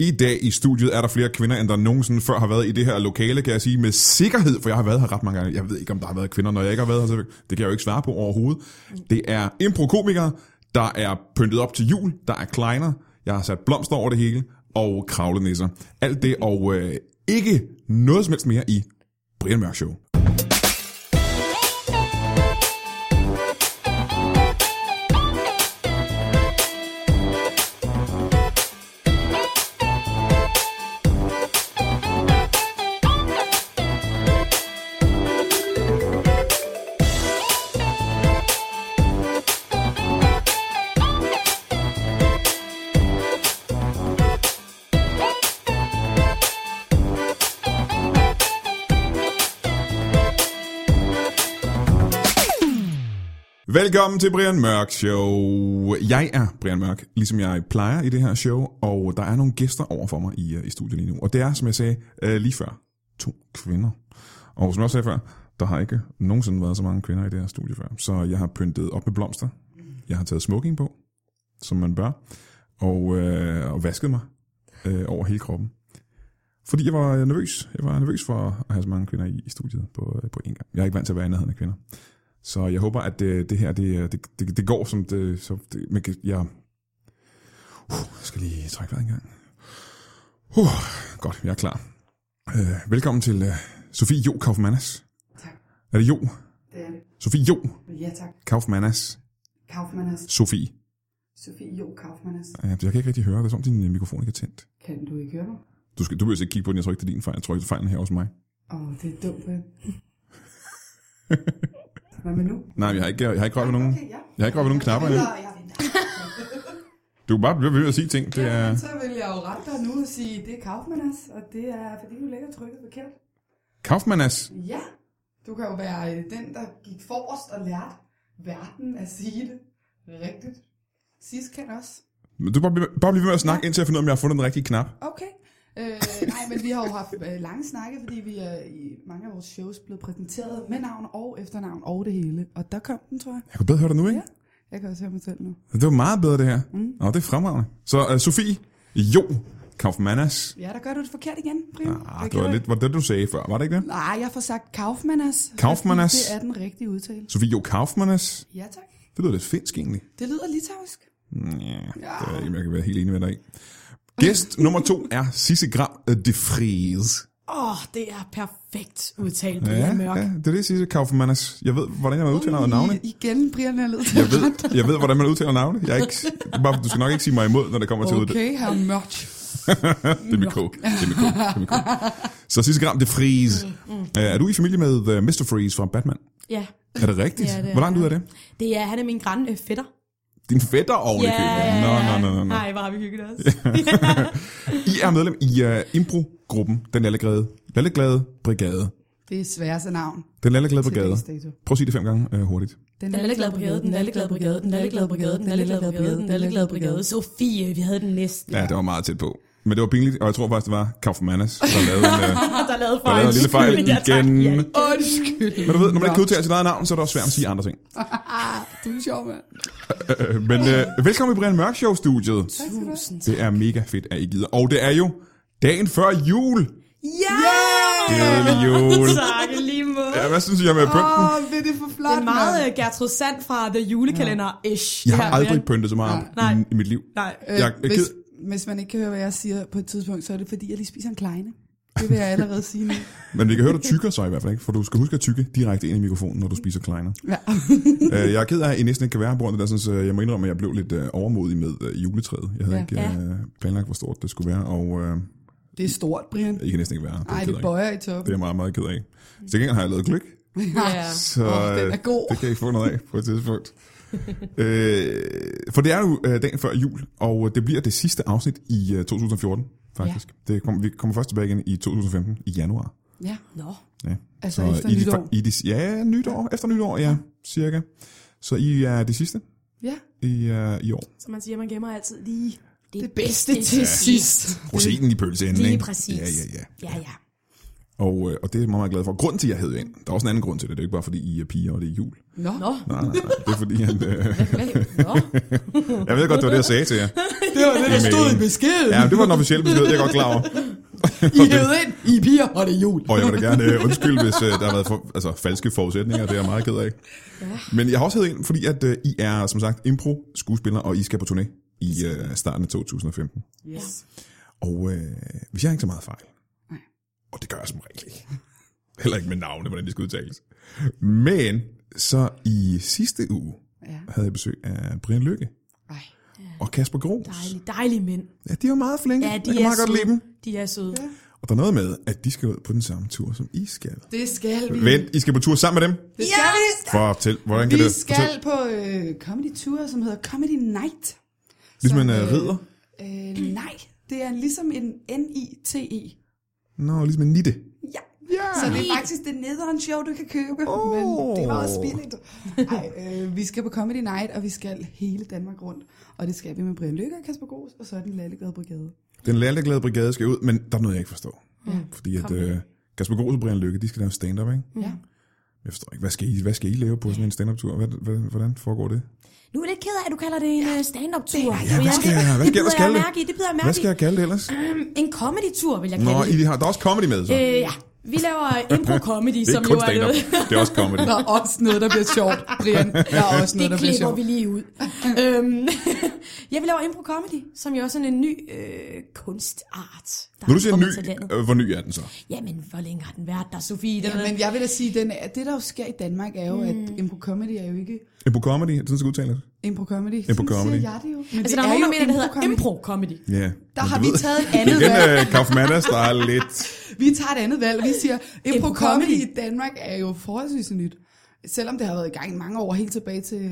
I dag i studiet er der flere kvinder, end der nogensinde før har været i det her lokale, kan jeg sige med sikkerhed, for jeg har været her ret mange gange. Jeg ved ikke, om der har været kvinder, når jeg ikke har været her. så Det kan jeg jo ikke svare på overhovedet. Det er improkomikere, der er pyntet op til jul, der er kleiner, jeg har sat blomster over det hele, og kravlenisser. Alt det og øh, ikke noget som helst mere i Brian Mørk Show. Velkommen til Brian Mørk Show. Jeg er Brian Mørk, ligesom jeg plejer i det her show, og der er nogle gæster over for mig i, øh, i studiet lige nu. Og det er, som jeg sagde øh, lige før, to kvinder. Og som jeg også sagde før, der har ikke nogensinde været så mange kvinder i det her studie før. Så jeg har pyntet op med blomster. Jeg har taget smoking på, som man bør, og, øh, og vasket mig øh, over hele kroppen. Fordi jeg var øh, nervøs. Jeg var nervøs for at have så mange kvinder i, i studiet på, øh, på én gang. Jeg er ikke vant til at være i nærheden af kvinder. Så jeg håber, at det, det her, det, øh, det, det, det går som det... Som det men jeg, uh, jeg skal lige trække vejret en gang. Uh, godt, jeg er klar. Uh, velkommen til uh, Sofie Jo Kaufmannas. Tak. Er det Jo? Det er det. Sofie Jo Ja tak. Kaufmannas. Kaufmannas. Sofie. Sofie Jo Kaufmannas. Uh, jeg kan ikke rigtig høre, det er som om din øh, mikrofon ikke er tændt. Kan du ikke høre mig? Du, skal, du behøver ikke kigge på den, jeg tror ikke, det er din fejl. Jeg tror ikke, det er fejlen her hos mig. Åh, det er dumt, Ben. Hvad med nu? Nej, jeg har ikke, jeg har ikke rørt ved nogen, Okay, ja. jeg har ikke rørt ved nogen knapper. endnu. Eller, jeg venter. Du kan bare blive ved med at sige ting. Det er, Så vil jeg jo rette dig nu og sige, det er Kaufmannas, og det er, fordi du ligger trykket forkert. Kaufmannas. Ja, du kan jo være øh, den, der gik forrest og lærte verden at sige det rigtigt. Sidst kan også. Men Du kan bare, blive- bare blive ved med at snakke, indtil jeg finder ud af, om jeg har fundet den rigtige knap. Okay. Øh, nej, men vi har jo haft øh, lange snakke, fordi vi er i mange af vores shows blevet præsenteret med navn og efternavn og det hele. Og der kom den, tror jeg. Jeg kunne bedre høre dig nu, ikke? Jeg kan også høre mig selv nu. Ja. Det var meget bedre, det her. Mm. Nå, det er fremragende. Så uh, Sofie, jo, Kaufmannas. Ja, der gør du det forkert igen, Brian. Ah, Hvad det var kan du- lidt, var det, du sagde før, var det ikke det? Nej, Ah, jeg får sagt Kaufmannas. Kaufmannas. fordi Det er den rigtige udtale. Sofie Jo Kaufmannas. Ja, tak. Det lyder lidt finsk, egentlig. Det lyder litauisk. Ja, det er, ikke, om jeg kan være helt enig med dig i. Gæst nummer to er Sisse Gram øh, de Fries. Åh, oh, det er perfekt udtalt, Ja, Brian Mørk. ja, det er det, Sisse Kaufmannas. Jeg ved, hvordan jeg udtaler navne. I, igen, Brian er lidt Jeg ved, jeg ved, hvordan man udtaler navne. Jeg er ikke, det er bare, du skal nok ikke sige mig imod, når det kommer til ud. Okay, her mørkt. Det er med K. Det er med K. Det er med K. Så sidste gram, det er Freeze. Øh, Er du i familie med øh, Mr. Freeze fra Batman? Ja. Er det rigtigt? Ja, det er Hvor langt jeg. ud er det? Det er, han er min græn øh, fætter. Din fætter oven i købet. Nå, nå, nå, nå, nå. Nej, hvor har vi hygget os. I er medlem i uh, Impro-gruppen, Den Lalleglade. Lalleglade Brigade. Det er sværeste navn. Den Lalleglade til Brigade. dags dato. Prøv at sige det fem gange uh, hurtigt. Den Den lalleglade brigade, den lalleglade brigade, den lalleglade brigade, den lalleglade brigade, den lalleglade brigade. Sofie, vi havde den næsten. Ja, det var meget tæt på. Men det var pinligt, og jeg tror faktisk, det var Kaufmannas, der lavede en, uh, Og der lavede der fejl. lavede en lille fejl Ja, tak. igen. Ja, Undskyld. Men du ved, når man ikke kan udtale sit eget navn, så er det også svært at sige andre ting. Ah, du er sjov, mand. Øh, Men uh, velkommen i Brian Mørk Show-studiet. Tusind tak. Det er mega fedt, at I gider. Og det er jo dagen før jul. Ja! Glædelig jul. Tak i lige måde. Ja, hvad synes jeg med pynten? Åh, oh, det er for flot, Det er meget mand. øh, Gertrud Sand fra The Julekalender-ish. Jeg det har her, aldrig Brian. pyntet så meget Nej. i, i mit liv. Nej. Øh, Jeg- jeg hvis, gider- hvis man ikke kan høre, hvad jeg siger på et tidspunkt, så er det fordi, jeg lige spiser en kleine. Det vil jeg allerede sige nu. Men vi kan høre, du tykker så i hvert fald ikke, for du skal huske at tykke direkte ind i mikrofonen, når du spiser kleiner. Ja. Øh, jeg er ked af, at I næsten ikke kan være på grund af det. Jeg, synes, øh, jeg må indrømme, at jeg blev lidt øh, overmodig med øh, juletræet. Jeg havde Ja. ikke øh, planlagt, hvor stort det skulle være, og øh, Det er stort, Brian. I kan næsten ikke være. Det er, Ej, jeg ked det af. bøjer i det er toppen. jeg meget, meget ked af. Til gengæld har jeg lavet gløk, Ja. så Åh, den er øh, god. det kan I få noget af på et tidspunkt. øh, for det er jo øh, dagen før jul, og øh, det bliver det sidste afsnit i øh, 2014, faktisk. Ja. Det kom, vi kommer først tilbage igen i 2015, i januar. Ja, Nå. Ja. altså så efter i de- nytår. I de, ja, nytår, efter nytår, ja, cirka. Så I er det sidste Ja, i, uh, i år. Som man siger, man gemmer altid lige det bedste til sidst. Rosinen i pølseenden, Lige ikke? præcis. Ja, ja, ja. Ja, ja. Og, øh, og det er jeg meget, meget glad for. Grunden til, at jeg hed ind, der er også en anden grund til det. Det er jo ikke bare, fordi I er piger, og det er jul. Nå, Nå, Nej, nej, nej. Det er fordi, at, øh, flag. Nå. jeg ved godt, det var det, jeg sagde til jer. det var det, der I-mailen. stod i beskeden. Ja, det var den officielle besked, det er jeg godt klar over. I hed ind, I er piger, og det er jul. Og jeg vil da gerne øh, undskylde, hvis øh, der har været for, altså, falske forudsætninger, det er jeg meget ked af. Ja. Men jeg har også heddet ind, fordi at, øh, I er som sagt impro-skuespillere, og I skal på turné i øh, starten af 2015. Yes. Og øh, hvis jeg ikke så meget fejl, Nej. og det gør jeg som regel ikke, heller ikke med navne, hvordan de skal udtales, men så i sidste uge Ja. havde jeg besøg af Brian Lykke Ej. og Kasper Gros. Dejlige, dejlige mænd. Ja, de er jo meget flinke. Ja, de jeg kan er meget godt lide dem. søde. De er søde. Og der er noget med, at de skal ud på den samme tur, som I skal. Det skal vi. Vent, I skal på tur sammen med dem? Det skal vi. Fortæl, hvordan kan Vi det... skal på øh, Comedy Tour, som hedder Comedy Night. Ligesom som, en øh, øh, ridder? Øh, nej, det er ligesom en N-I-T-E. Nå, ligesom en nitte. Ja. ja. E. Så det er faktisk det nederen show, du kan købe. Åh. Oh. Men det var også billigt. Ej, øh, vi skal på Comedy Night, og vi skal hele Danmark rundt. Og det skal vi med Brian Lykke og Kasper Gros, og så er den Lallegade Brigade. Den lærligglade brigade skal ud, men der er noget, jeg ikke forstår. Ja. Fordi at øh, Kasper Gros og Brian Lykke, de skal lave stand-up, ikke? Ja. Jeg forstår ikke, hvad skal I, hvad skal I lave på sådan en stand-up-tur? Hvad, hvad, hvordan foregår det? Nu er jeg lidt ked af, at du kalder det en øh, stand-up-tur. Ja, hvad skal jeg- hvad skal jeg ellers kalde det? mærke i, det bider jeg Hvad mærke skal jeg kalde det ellers? i. En comedy-tur, vil jeg Nå, kalde det. I har, der er også comedy med, så. Det Øh, ja, vi laver impro-comedy, er som ikke jo kun er stand-up, noget. det er også comedy. Der er også noget, der bliver sjovt, Brian. Der er også noget, Det der bliver sjovt. klipper vi lige ud. øhm, jeg vil lave impro-comedy, som jo også er sådan en ny øh, kunstart. Der Når du siger kommer ny, til landet. øh, hvor ny er den så? Jamen, hvor længe har den været der, Sofie? Den Ja, men jeg vil da sige, den er, det der jo sker i Danmark er jo, mm. at impro comedy er jo ikke En på comedy, er det sådan, så udtaler det? impro comedy. comedy. siger jeg det jo. Men altså, det der er nogen, der jo mener, det hedder impro-comedy. impro-comedy. Ja. Der men har du vi ved- taget et Det er andet igen valg. øh, Kaufmannas, der er lidt... Vi tager et andet valg. Vi siger, impro comedy Impro-comedy. i Danmark er jo forholdsvis nyt. Selvom det har været i gang i mange år, helt tilbage til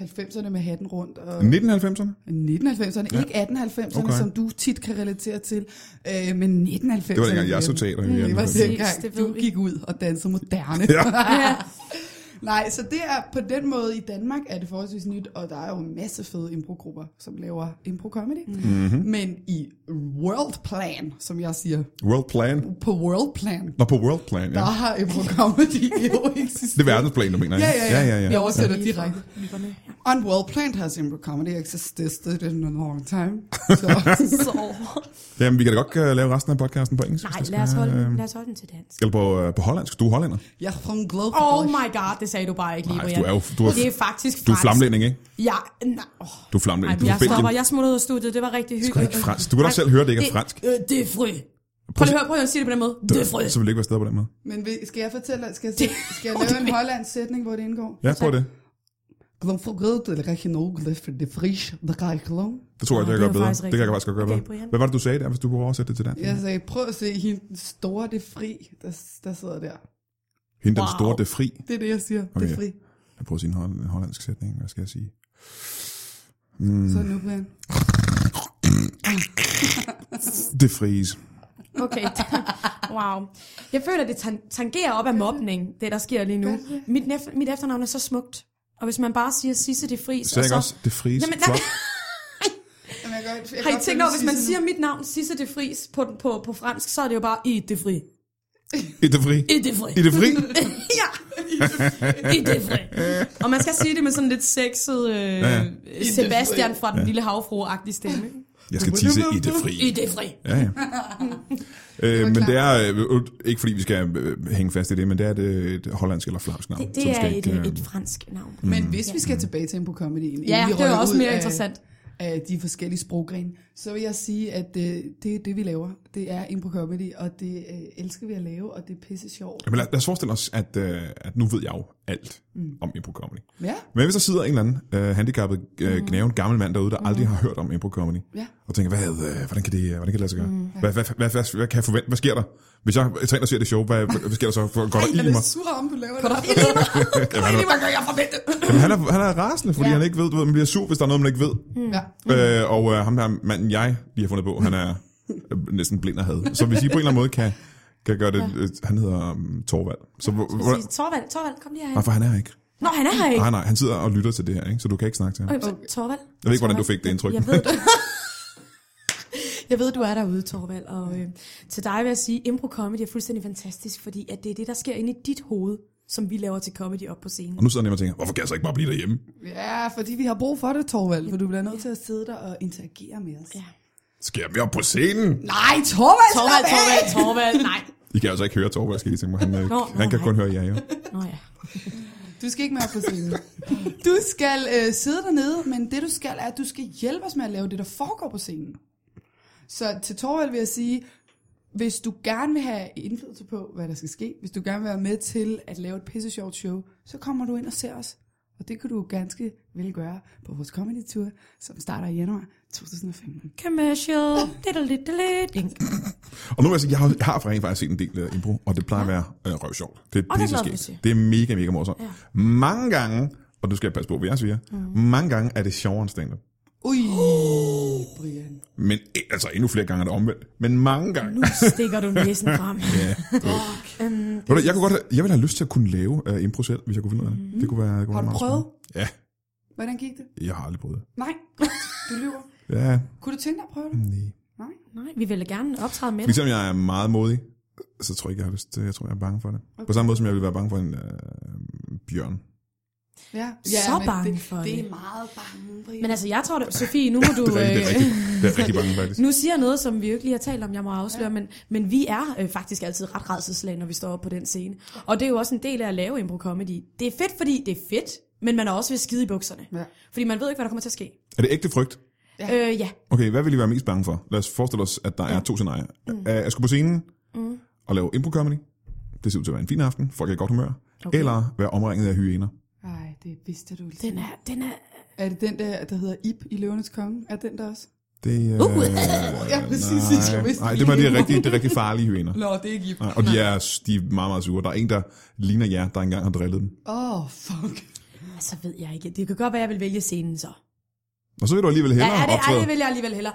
øh, 90'erne med hatten rundt. Og 1990'erne? 1990'erne, ja. ikke 1890'erne, Okay. okay. som du tit kan relatere til, øh, men 1990'erne. Det var dengang, jeg så teater. i Det var 1990'erne. Præcis, dengang, det du ved vi. gik ud og dansede moderne. Ja. Ja. Nej, så det er på den måde i Danmark er det forholdsvis nyt, og der er jo en masse fede improgrupper, som laver impro-comedy. Mhm. Mm-hmm. Men i world plan, som jeg siger, World Plan. på world plan, Nå, på World Plan, ja. der har impro-comedy jo Det eksisteret. er verdensplan, du mener, Ja, ja, ja. ja, ja, Jeg ja. oversætter direkte. On world plan has impro-comedy existed in a long time. Så Så, Jamen, vi kan da godt uh, lave resten af podcasten på engelsk. hvis nej, det skal lad os, holde være, den, øhm, lad os holde den til dansk. Eller på, øh, på hollandsk. Du er hollænder. jeg er from Globe. Oh my god, det sagde du bare ikke lige, Nej, Brian. du er jo- du er- det er faktisk Du er fransk. flamlænding, ikke? Ja, nej. Oh. Du er flamlænding. Ej, du er jeg fra Belgien. stopper. Jeg smutter ud af studiet. Det var rigtig Det er hyggeligt. ikke fransk. Du kan da også selv høre, det ikke er fransk. Øh, det er fri. Prøv lige at høre, prøv lige at sige det på den måde. Det er fri. Så vil det ikke være sted på den måde. Men vil- skal jeg fortælle dig, skal jeg, skal jeg lave en hollandsk sætning, hvor det indgår? Ja, prøv det. Glem for grød, eller rigtig nogen, det for det fris, der kan ikke lov. Det tror jeg, det Nå, det gør var bedre. faktisk Det kan jeg faktisk godt gøre rigtigt. bedre. Okay, Brian. Hvad var det, du sagde der, hvis du kunne oversætte det til dansk? Jeg sagde, prøv at se hende den store, det fri, der, der sidder der. Hende den Wow. store, det er fri. Det er det, jeg siger. Okay. Det er fri. Jeg prøver at sige en hol- en hollandsk sætning. Hvad skal jeg sige? Mm. Så nu, Brian. Det fries. Okay. Wow. Jeg føler, det tan- tangerer op af mobning, det der sker lige nu. Mit, nef- mit efternavn er så smukt. Og hvis man bare siger Sisse det fris, Så jeg og så... ikke også, det fries. Jamen, nej, Flot. Jamen, jeg kan godt, jeg har kan I godt tænkt følge over, hvis man Sisse siger mit navn, Sisse det fris, på, på, på fransk, så er det jo bare i det fri. I det fri. I det fri. I det fri. ja. I det fri. Og man skal sige det med sådan lidt sexet øh, ja. Sebastian fra den lille havfru-agtig stemme. ikke? Jeg skal tisse i det fri. I det fri. Ja, ja. øh, men det er, øh, ikke fordi vi skal øh, hænge fast i det, men det er et, øh, et hollandsk eller flamsk navn. Det, det som er skal et, ikke, øh, øh, et fransk navn. nu. Men hvis vi skal tilbage til impro comedyen Mm. Ja, inden vi det er rører også ud mere af- interessant. af de forskellige sproggrene, så vil jeg sige, at øh, det er det, vi laver. Det er impro comedy, og det øh, elsker vi at lave, og det er pisse sjovt. Jamen, lad, lad os forestille os, at, øh, at nu ved jeg jo alt mm. om impro-comedy. Ja, Men hvis der sidder en eller anden øh, handicappet, øh, gnaven gammel mand derude, der mm. aldrig har hørt om impro-comedy, Ja. og tænker, hvad, øh, hvordan, kan det, øh, hvordan kan det lade sig gøre? Mm. Hvad, hvad, hvad, hvad, hvad kan jeg forvente? Hvad sker der? Hvis jeg træner og ser det show, hvad, hvad sker der så? Går der jeg ild i mig? er sur om, du laver det. Jamen, han, er, han er rasende, fordi ja. han ikke ved, du ved, man bliver sur, hvis der er noget, man ikke ved. Ja. Mm. Øh, og øh, ham her manden, jeg lige har fundet på, han er øh, næsten blind af had. Så hvis I på en eller anden måde kan, kan gøre det, ja. han hedder um, Torvald. Så, hvor, hvor, Præcis. Torvald, Torvald, kom lige herhen. nej, for han er her ikke. Nå, han er her ikke. Nej, nej, han sidder og lytter til det her, ikke? så du kan ikke snakke til ham. Okay, så Torvald. Jeg ved ikke, hvordan du fik det indtryk. Jeg ved det. Jeg ved, du er derude, Torvald, og øh, til dig vil jeg sige, impro comedy er fuldstændig fantastisk, fordi at det er det, der sker inde i dit hoved, som vi laver til comedy op på scenen. Og nu sidder jeg nemlig og tænker, hvorfor kan jeg så ikke bare blive derhjemme? Ja, fordi vi har brug for det, Torvald, for du bliver nødt til at sidde der og interagere med os. Ja. Skal jeg med op på scenen? Nej, Torvald, Torvald, slap af! Torvald, Torvald, nej. I kan altså ikke høre Torvald, skal I tænke mig. Han, Nå, Nå, han nå, kan nej. kun høre jer, jo. Nå ja. Du skal ikke med op på scenen. Du skal øh, sidde dernede, men det du skal, er, at du skal hjælpe os med at lave det, der foregår på scenen. Så til Torvald vil jeg sige, hvis du gerne vil have indflydelse på, hvad der skal ske, hvis du gerne vil være med til at lave et pisse sjovt show, så kommer du ind og ser os. Og det kan du ganske vel gøre på vores comedy tour, som starter i januar 2015. Commercial, diddle-diddle, ding. Og nu vil jeg sige, jeg har, jeg har rent faktisk set en del uh, impro, og det plejer at være øh, røvsjovt. Det er Og det er glad for at pisse se. Det er mega, mega morsomt. Ja. Mange gange, og du skal jeg passe på, hvad jeg siger, mm. mange gange er det sjovere end stand Ui, Brian. Men eh, altså endnu flere gange er det omvendt. Men mange gange. Nu stikker du næsen frem. Ja, øhm, Ved du, jeg, kunne godt have, jeg ville have lyst til at kunne lave uh, impro selv, hvis jeg kunne finde ud af det. Det kunne være, det kunne Mm-hmm. Har være du meget prøvet? spændende. Ja, Hvordan gik det? jeg har aldrig prøvet det. Nej, godt. du lyver. Ja, Kunne du tænke dig at prøve det? nej. Nej. nej, vi vil gerne optræde med For dig. eksempel, jeg er meget modig, så tror jeg ikke, jeg har lyst til Jeg tror, jeg er bange for det. Okay. På samme måde, som jeg ville være bange for en øh, bjørn. Ja. Så men bange det, for det. det. er meget bange, Brian. Men altså, jeg tror det, Sofie, nu må du... Det er, rigtig, det, er øh, rigtig, det er rigtig bange, faktisk. Nu siger jeg noget, som vi jo ikke lige har talt om, jeg må afsløre, ja. men, men vi er øh, faktisk altid ret redselslag, når vi står oppe på den scene. Og det er jo også en del af at lave impro-comedy. Det er fedt, fordi det er fedt, men man er også ved skide i bukserne. Ja. Fordi man ved ikke, hvad der kommer til at ske. Er det ægte frygt? Ja. Øh, ja. Okay, hvad vil I være mest bange for? Lad os forestille os, at der er to scenarier. Mm. At skulle på scenen Mm. og lave impro-comedy. Det ser ud til at være en fin aften. Folk er i godt humør. Okay. Eller være omringet af hyener. Ej, det vidste du ikke. Den er, den er, Er det den der, der hedder Ip i Løvenes Konge? Er den der også? Det, øh, Ja, præcis, jeg Nej, vidste nej, det det var de lige. rigtig, de rigtig farlige hyener. Nå, det er ikke Ip. Nej, Og de er, de er meget, meget sure. Der er en, der ligner jer, der engang har drillet dem. Åh, oh, fuck. altså ved jeg ikke. Det kan godt være, jeg vil vælge scenen så. Og så vil du alligevel Ja, hellere er det, ej, optræde. det vil jeg alligevel hellere.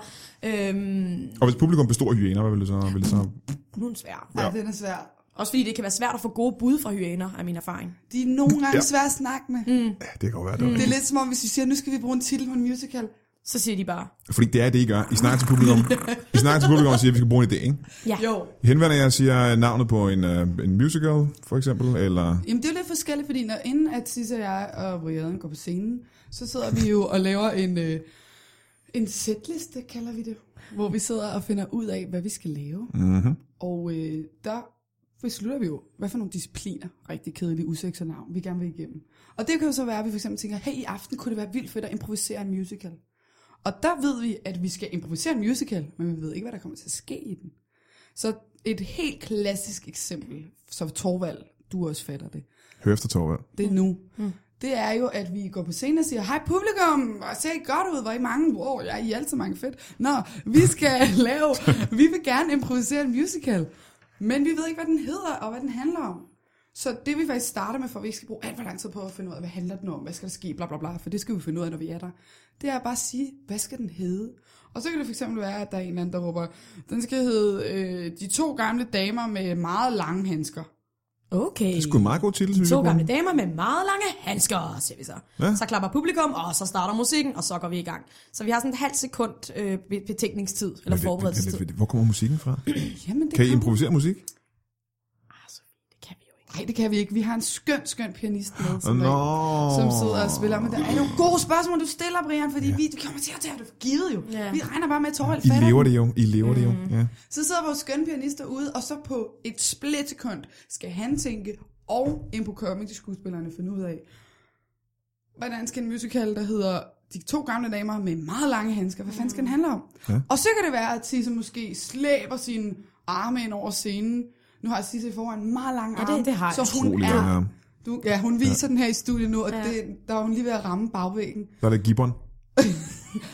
Øhm, Og hvis publikum består af hyener, hvad vil det så? Vil det så nu er den svær. Ej, den er svær. Også fordi det kan være svært at få gode bud fra hyæner, af min erfaring. De er nogle gange Ja. ja. svære at snakke med. Mm. ja, det kan godt være, det var Det er lidt som om, hvis vi siger, nu skal vi bruge en titel på en musical. Så siger de bare, det. Fordi det er det, I gør. I snakker til publikum, I snakker til publikum og siger, at vi skal bruge en idé, ikke? ja, jo. I henvender jer og siger navnet på en, øh, en musical, for eksempel, eller... Jamen, det er jo lidt forskelligt, fordi når inden at Sisse og jeg og Brian går på scenen, så sidder vi jo og laver en, øh, en setliste, kalder vi det, hvor vi sidder og finder ud af, hvad vi skal lave. Mm-hmm. Og øh, der beslutter vi jo, hvad for nogle discipliner, rigtig kedelige usex og navn, vi gerne vil igennem. Og det kan jo så være, at vi for eksempel tænker, hey, i aften kunne det være vildt fedt at improvisere en musical. Og der ved vi, at vi skal improvisere en musical, men vi ved ikke, hvad der kommer til at ske i den. Så et helt klassisk eksempel, så Torvald, du også fatter det, Hør efter, Torvald. det er nu. Mm. Det er jo, at vi går på scenen og siger, hej publikum, hvor ser I godt ud, hvor er I mange, wow, jeg er I er altid mange fedt. Nå, vi skal lave, vi vil gerne improvisere en musical, men vi ved ikke, hvad den hedder og hvad den handler om. Så det vi faktisk starter med, for at vi ikke skal bruge alt for lang tid på at finde ud af, hvad handler den om, hvad skal der ske, bla bla bla, for det skal vi finde ud af, når vi er der. Det er bare at sige, hvad skal den hedde? Og så kan det fx være, at der er en eller anden, der råber, den skal hedde øh, De to gamle damer med meget lange handsker. Okay. Det er sgu en meget god titel, synes To jeg. gamle damer med meget lange handsker, ser vi så. Ja. Ja. Så klapper publikum, og så starter musikken, og så går vi i gang. Så vi har sådan et halvt sekund øh, be- betænkningstid, eller forberedelsestid. Hvor- Hvor kommer musikken fra? Jamen, det Kan I kommer- improvisere musik? Ah, Sofie, det kan vi jo ikke. Nej, det kan vi ikke. Vi har en skøn, skøn pianist med, som, Nå. som sidder og spiller. Men der er jo gode spørgsmål, du stiller, Brian, fordi ja. vi du kommer til at tage det for givet jo. Ja. Vi regner bare med, at Torvald I fatter lever den. det jo. I lever det jo. Ja. Så sidder vores skønne pianist derude, og så på et splitsekund skal han tænke, og impo comedy skuespillerne finde ud af, hvordan skal en musical, der hedder De to gamle damer med meget lange handsker, hvad fanden skal den handle om? Ja. Ja. Og så kan det være, at Tisse måske slæber sine arme ind over scenen. Nu har Tisse i forvejen meget lange Ja, det- arme, det har jeg. så hun Utrolig er ja. du, ja, hun viser ja. den her i studiet nu, og Ja. ja. det, der er hun lige ved at ramme bagvæggen. Der er det gibbon.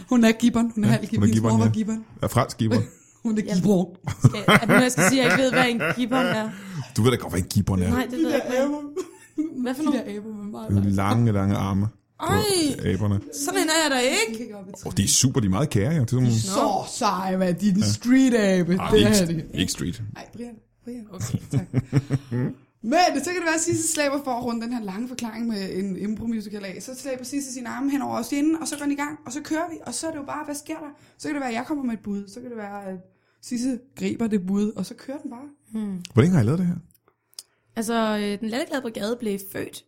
Hun er gibbon, hun er ja, halv gibbon, hendes mor gibbon, var ja. gibbon. Ja, fransk gibbon. Hun er gibbon. Skal, er det nu, jeg skal sige, at jeg ikke ved, hvad en gibbon er? Du ved da godt, hvad en gibbon er. Nej, det ved jeg ikke. hvad- Hvad for De der noget? aber med meget langt. Lange, lange arme. Ej, Aberne. sådan en er jeg da ikke. De kan gå op i Og træet. de er super, de er meget kære, jo. Det er sådan, Så seje, hvad de er den street abe. Ej, det ikke, er det. ikke street. Ej, Brian. Brian. Okay. Tak. Men så kan det være, at Sisse slæber for at runde den her lange forklaring med en impro-musical af. Så slæber Sisse sine arme hen over os inden, og så går den i gang, og så kører vi, og så er det jo bare, hvad sker der? Så kan det være, at jeg kommer med et bud, så kan det være, at Sisse griber det bud, og så kører den bare. Hvor længe har I lavet det her? Altså, øh, den latterglade brigade blev født.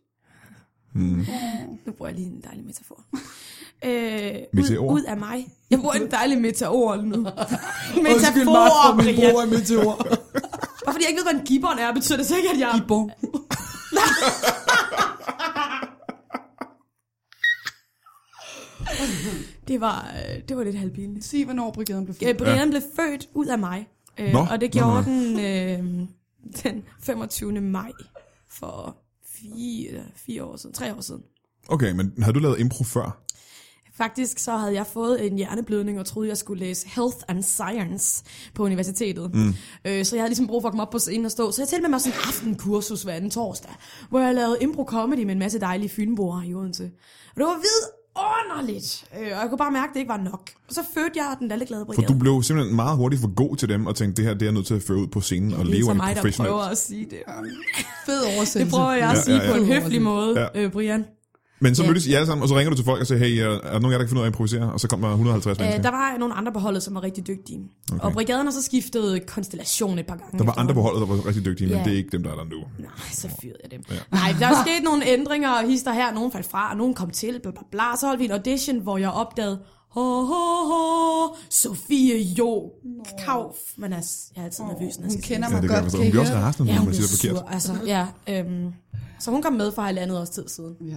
Mm. Nu bruger jeg lige en dejlig metafor. Øh, Meteor? Ud, ud af mig. Jeg bruger en dejlig metafor nu. Undskyld mig for metafor, min brug Brian. af meteor. Bare fordi jeg ikke ved, hvad en gibbon er, betyder det så ikke, at jeg... Gibbon. Det var, øh, det var lidt halvpinligt. Sig, hvornår brigaden blev Øh, født. Brian ja. blev født ud af mig. Øh, Nå, og det nå, gjorde nå. den øh, den 25. maj for fire, fire år siden, tre år siden. Okay, men har du lavet impro før? Faktisk så havde jeg fået en hjerneblødning og troede, jeg skulle læse Health and Science på universitetet. Mm. Øh, så jeg havde ligesom brug for at komme op på scenen og stå. Så jeg tilmeldte mig sådan en aftenkursus hver anden torsdag, hvor jeg lavede impro comedy med en masse dejlige fynboer i Odense. Og det var vidunderligt. Øh, og jeg kunne bare mærke, at det ikke var nok. Og så fødte jeg den lalleglade For brigade. du blev simpelthen meget hurtigt for god til dem, og tænkte, det her det er jeg nødt til at føre ud på scenen og det er leve så af mig, det der professionelt. prøver at sige det. Fed oversættelse. Det prøver jeg at Altså, Ja, sige ja, ja. på en høflig måde, Ja. ja. øh, Brian. Men så Ja. mødtes I alle sammen, og så ringer du til folk og siger, hey, er er der nogen af jer, der kan finde ud af at improvisere? Og så kommer der 150 Øh, mennesker. der var nogle andre på holdet, som var rigtig dygtige. Okay. Og brigaden har så skiftet konstellation et par gange. Der var andre efterhånden. på holdet, der var rigtig dygtige, men Ja. det er ikke dem, der er der nu. Nej, så fyrede jeg dem. Ja. Nej, der er sket nogle ændringer og hister her. Nogen faldt fra, og nogen kom til, bla bla bla. Så holdt vi en audition, hvor jeg opdagede, ho, ho, ho, Sofie Jo Kauf. Men altså, jeg er altid nervøs, når jeg Hun skal kender Ja, mig det kan jeg godt, forstå. kan Hun I bliver også høre? rasende, sige det. Ja, når hun man blev siger det sur. forkert. Altså, ja, øhm, så hun kom med for halvandet års tid siden. Ja.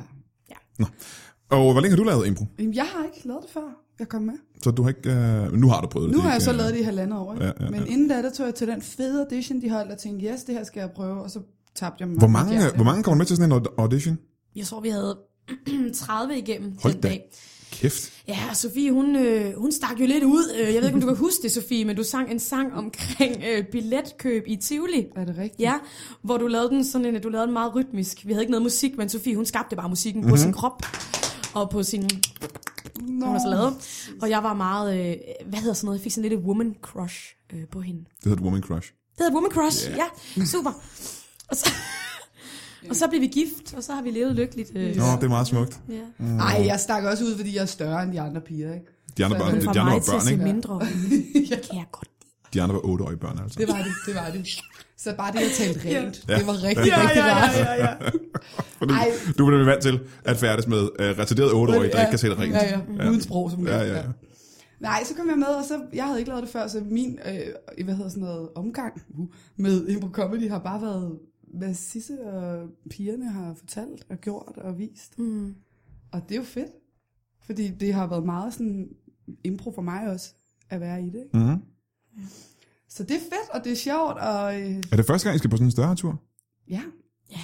Og hvor længe har du lavet impro? Jamen, jeg har ikke lavet det før, jeg kom med. Så du har ikke... Øh, nu har du prøvet det. det Nu er har jeg ikke, så øh, lavet det i halvandet år, ikke? Ja, ja, ja. men inden da, der tog jeg til den fede audition, de holdt, og tænkte, yes, det her skal jeg prøve, og så tabte jeg mig. Hvor mange, øh, hvor mange kommer med til sådan en aud- audition? Jeg tror, vi havde 30 igennem Hold den da. dag. Kæft. Ja, og Sofie, hun, øh, hun stak jo lidt ud. Øh, Jeg ved ikke, om du kan huske det, Sofie, men du sang en sang omkring øh, billetkøb i Tivoli. Er det rigtigt? Ja, hvor du lavede den sådan en, du lavede den meget rytmisk. Vi havde ikke noget musik, men Sofie, hun skabte bare musikken mm-hmm. på sin krop og på sin, Nå, hun også lavede. Og jeg var meget, øh, hvad hedder sådan noget, jeg fik sådan lidt et woman crush øh, på hende. Det hedder et woman crush. Det hedder woman crush, yeah. ja, super. Og så, og så blev vi gift, og så har vi levet lykkeligt. Øh, Nå, det er meget smukt. ja. Ej, jeg stak også ud, fordi jeg er større end de andre piger, ikke? Mm. De andre, Så børn, er det de Fra andre mig var til at børn, se ikke? mindre. Det kan jeg godt lide. De andre var otteårige børn, altså. Det var det, det var det. Så bare det, jeg talte rent, det var rigtig, Ja, rigtig ja, ja, rart. ja, ja. Fordi Ej. du blev vant til at færdes med øh, retarderede otteårige, der Ja, ikke kan se det rent. Ja, ja, uden sprog, som Ja, det ja, er. ja. Nej, så kom jeg med, og så, jeg havde ikke lavet det før, så min, øh, hvad hedder sådan noget, omgang uh, med Impro Comedy har bare været, hvad Sisse og pigerne har fortalt og gjort og vist. Mm. Og det er jo fedt, fordi det har været meget sådan impro for mig også, at være i det. Ikke? Mhm. Så det er fedt, og det er sjovt, og øh, Er det første gang, I skal på sådan en større tur? ja, Ja,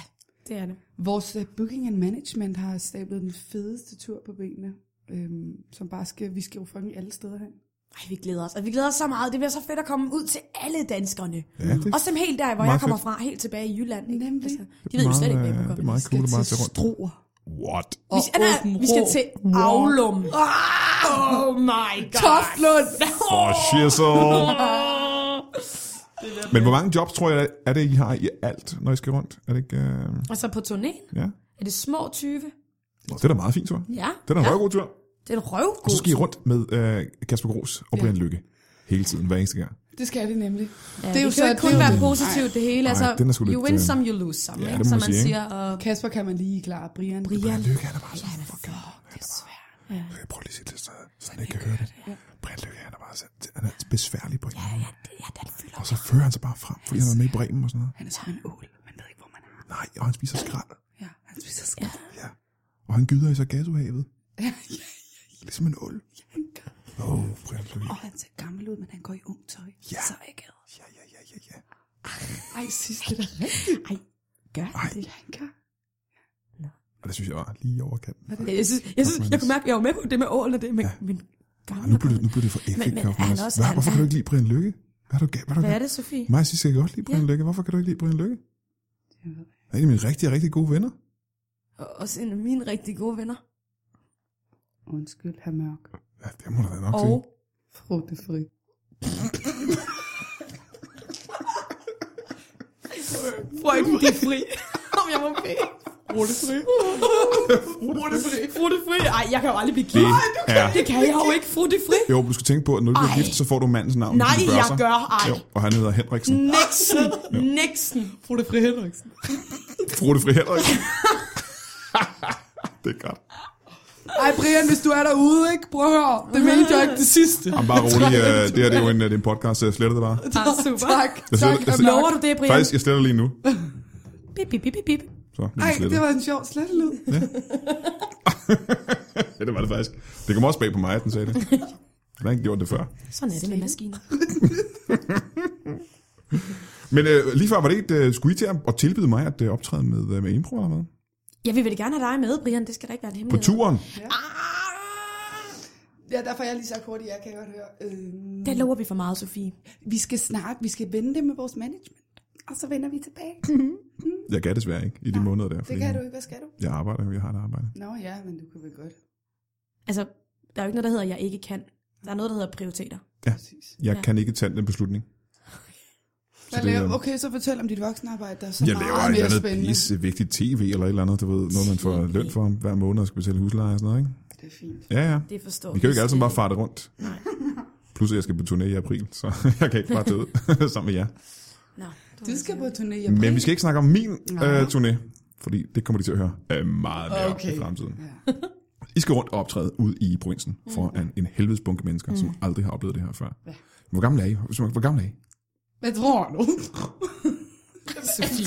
det er det. vores øh, booking and management har stablet den fedeste tur på benene, øhm, som bare skal, vi skal jo fucking alle steder hen. Ej, vi glæder os. Og vi glæder os så meget. Det bliver så fedt at komme ud til alle danskerne. Ja, det, Også dem helt der, hvor Meget jeg kommer fedt. fra, helt tilbage i Jylland. Ikke? Nemlig. de ved jo slet ikke, meget, hvad øh, jeg Det er meget cool at bare tage rundt. Stroer. What? og Vi skal, nej, vi skal til Aulum. Oh my god. Toftlund. For shizzle. Men hvor mange jobs, tror jeg, er det, I har i alt, når I skal rundt? Er det ikke... Øh, Og så på turnéen ja? er det små 20. Nå, det er da meget fint, tror jeg. Ja, Det er da en ja. røvgod tur. det er en Og så røvgod. skal I rundt med øh, Kasper Gros og Brian Lykke. Hele tiden, hver eneste gang. Det skal det nemlig. Ja, det, er jo så- kan jo ikke kun det er jo være det. positivt det hele. Altså, den er sgu you lidt, win øh, some, you lose some. ja, Ja, det ikke? må Som man man sige, siger. Og Kasper kan man lige klare. Brian. Brian, Brian Lykke, han er bare så han er fucking... Han er bare, Ja. jeg prøver lige at sige det, så, så han ikke kan høre det. Brian Lykke, han er bare så, han er besværlig på ja, ja. ja, den fylder. Og så fører han sig bare frem, fordi han var med i Bremen og sådan noget. Han er som en ål. Man ved ikke, hvor man er. Nej, og han spiser skrald. Ja, han spiser skat. Ja. Og han gyder i Sargassohavet. Ligesom en ål. Åh, oh, Brian Lykke. Og han ser gammel ud, men han går i ung tøj. Ja. Så er jeg gad. Ja, ja, ja, ja, ja. Ej, sidst det er da rigtigt. Ej, gør Ej. det. Ja, han gør. Og det synes jeg var lige over kanten. Jeg synes, jeg, synes, jeg kunne mærke, jeg var med på det med ålen og det, men, men Og gammel. nu blev det, nu blev det for effektivt. men er han også- Hvad, han- hvorfor kan du han- ikke lide Brian Lykke? Hvad er du, ga- hvad er du Hvad ga- er det, Sofie? Mig og Sisse kan godt lide Brian Lykke. Hvorfor kan du ikke lide Brian Lykke? Han er en af mine rigtig, rigtig gode venner. Og også en af mine rigtig gode venner. Undskyld, herr Mørk. Ja, det må da være nok Og til. Frugtefri. Frøken, de er fri. Om jeg må bede. Rullefri. Fruttefri. Fruttefri. Ej, jeg kan jo aldrig blive Det gift. er... Det kan jeg jo ikke, fruttefri. Jo, men du skal tænke på, at når du bliver Ej. gift, så får du mandens navn. Nej, hvis du jeg sig. gør ej. Mm. Jo, og han hedder Henriksen. Nixon. Nixon. Fruttefri Henriksen. Frutefri Henriksen. det er godt. Ej, Brian, hvis du er derude, ikke? Prøv at høre. Det mente jeg ikke det sidste. Jamen, bare rolig. øh, det her det er jo en, øh, det er en podcast, så jeg sletter det bare. Ah, super. Tak. Jeg tak, sletter- jeg Amok. sletter- Lover du det, Brian? Faktisk, jeg sletter lige nu. Bip, bip, bip, bip, bip. Så, det Ej, er slettet. det var en sjov slettelyd. Ja, det var det faktisk. Det kom også bag på mig, at den sagde det. Jeg har ikke gjort det før. Sådan er det med maskiner. Men øh, lige før, var det ikke, øh, skulle I til at, at tilbyde mig at øh, optræde med, øh, med impro eller hvad? Jeg vil vel gerne have dig med, Brian. Det skal da ikke være en På hemmelighed. turen? Ja, derfor har jeg lige sagt hurtigt, jeg kan godt høre. Øhm, Der lover vi for meget, Sofie. vi skal snart, vi skal vende det med vores management. Og så vender vi tilbage. Jeg kan desværre ikke i de måneder der. Det fordi kan du ikke, hvad skal du? Jeg arbejder, jeg har et arbejde. Nå ja, men du kan vel godt. Altså, der er jo ikke noget, der hedder, jeg ikke kan. Der er noget, der hedder prioriteter. Præcis. Jeg Ja. ja. kan ikke tage den beslutning. Hvad det, laver, øhm, okay, så fortæl om dit voksenarbejde, der er så jeg meget laver et mere eller andet spændende. pisse vigtigt tv eller et eller andet, du ved, noget man får løn for hver måned og skal betale husleje og sådan noget, ikke? Det er fint. Ja, ja. Det forstår Vi kan jo ikke alle sammen bare slet farte rundt. Nej. Plus at jeg skal på turné i april, så jeg kan ikke bare tage ud sammen med jer. Nå, var Du det skal så. på turné i Men april. vi skal ikke snakke om min Nej. øh, turné, fordi det kommer de til at høre øh, meget mere okay. Okay. i fremtiden. Ja. I skal rundt og optræde ude i provinsen for en, en helvedes bunke mennesker, mm. som aldrig har oplevet det her før. Ja. Hvor gammel er I? Hvis man- Hvor gammel er I? Hvad tror du? Sofie.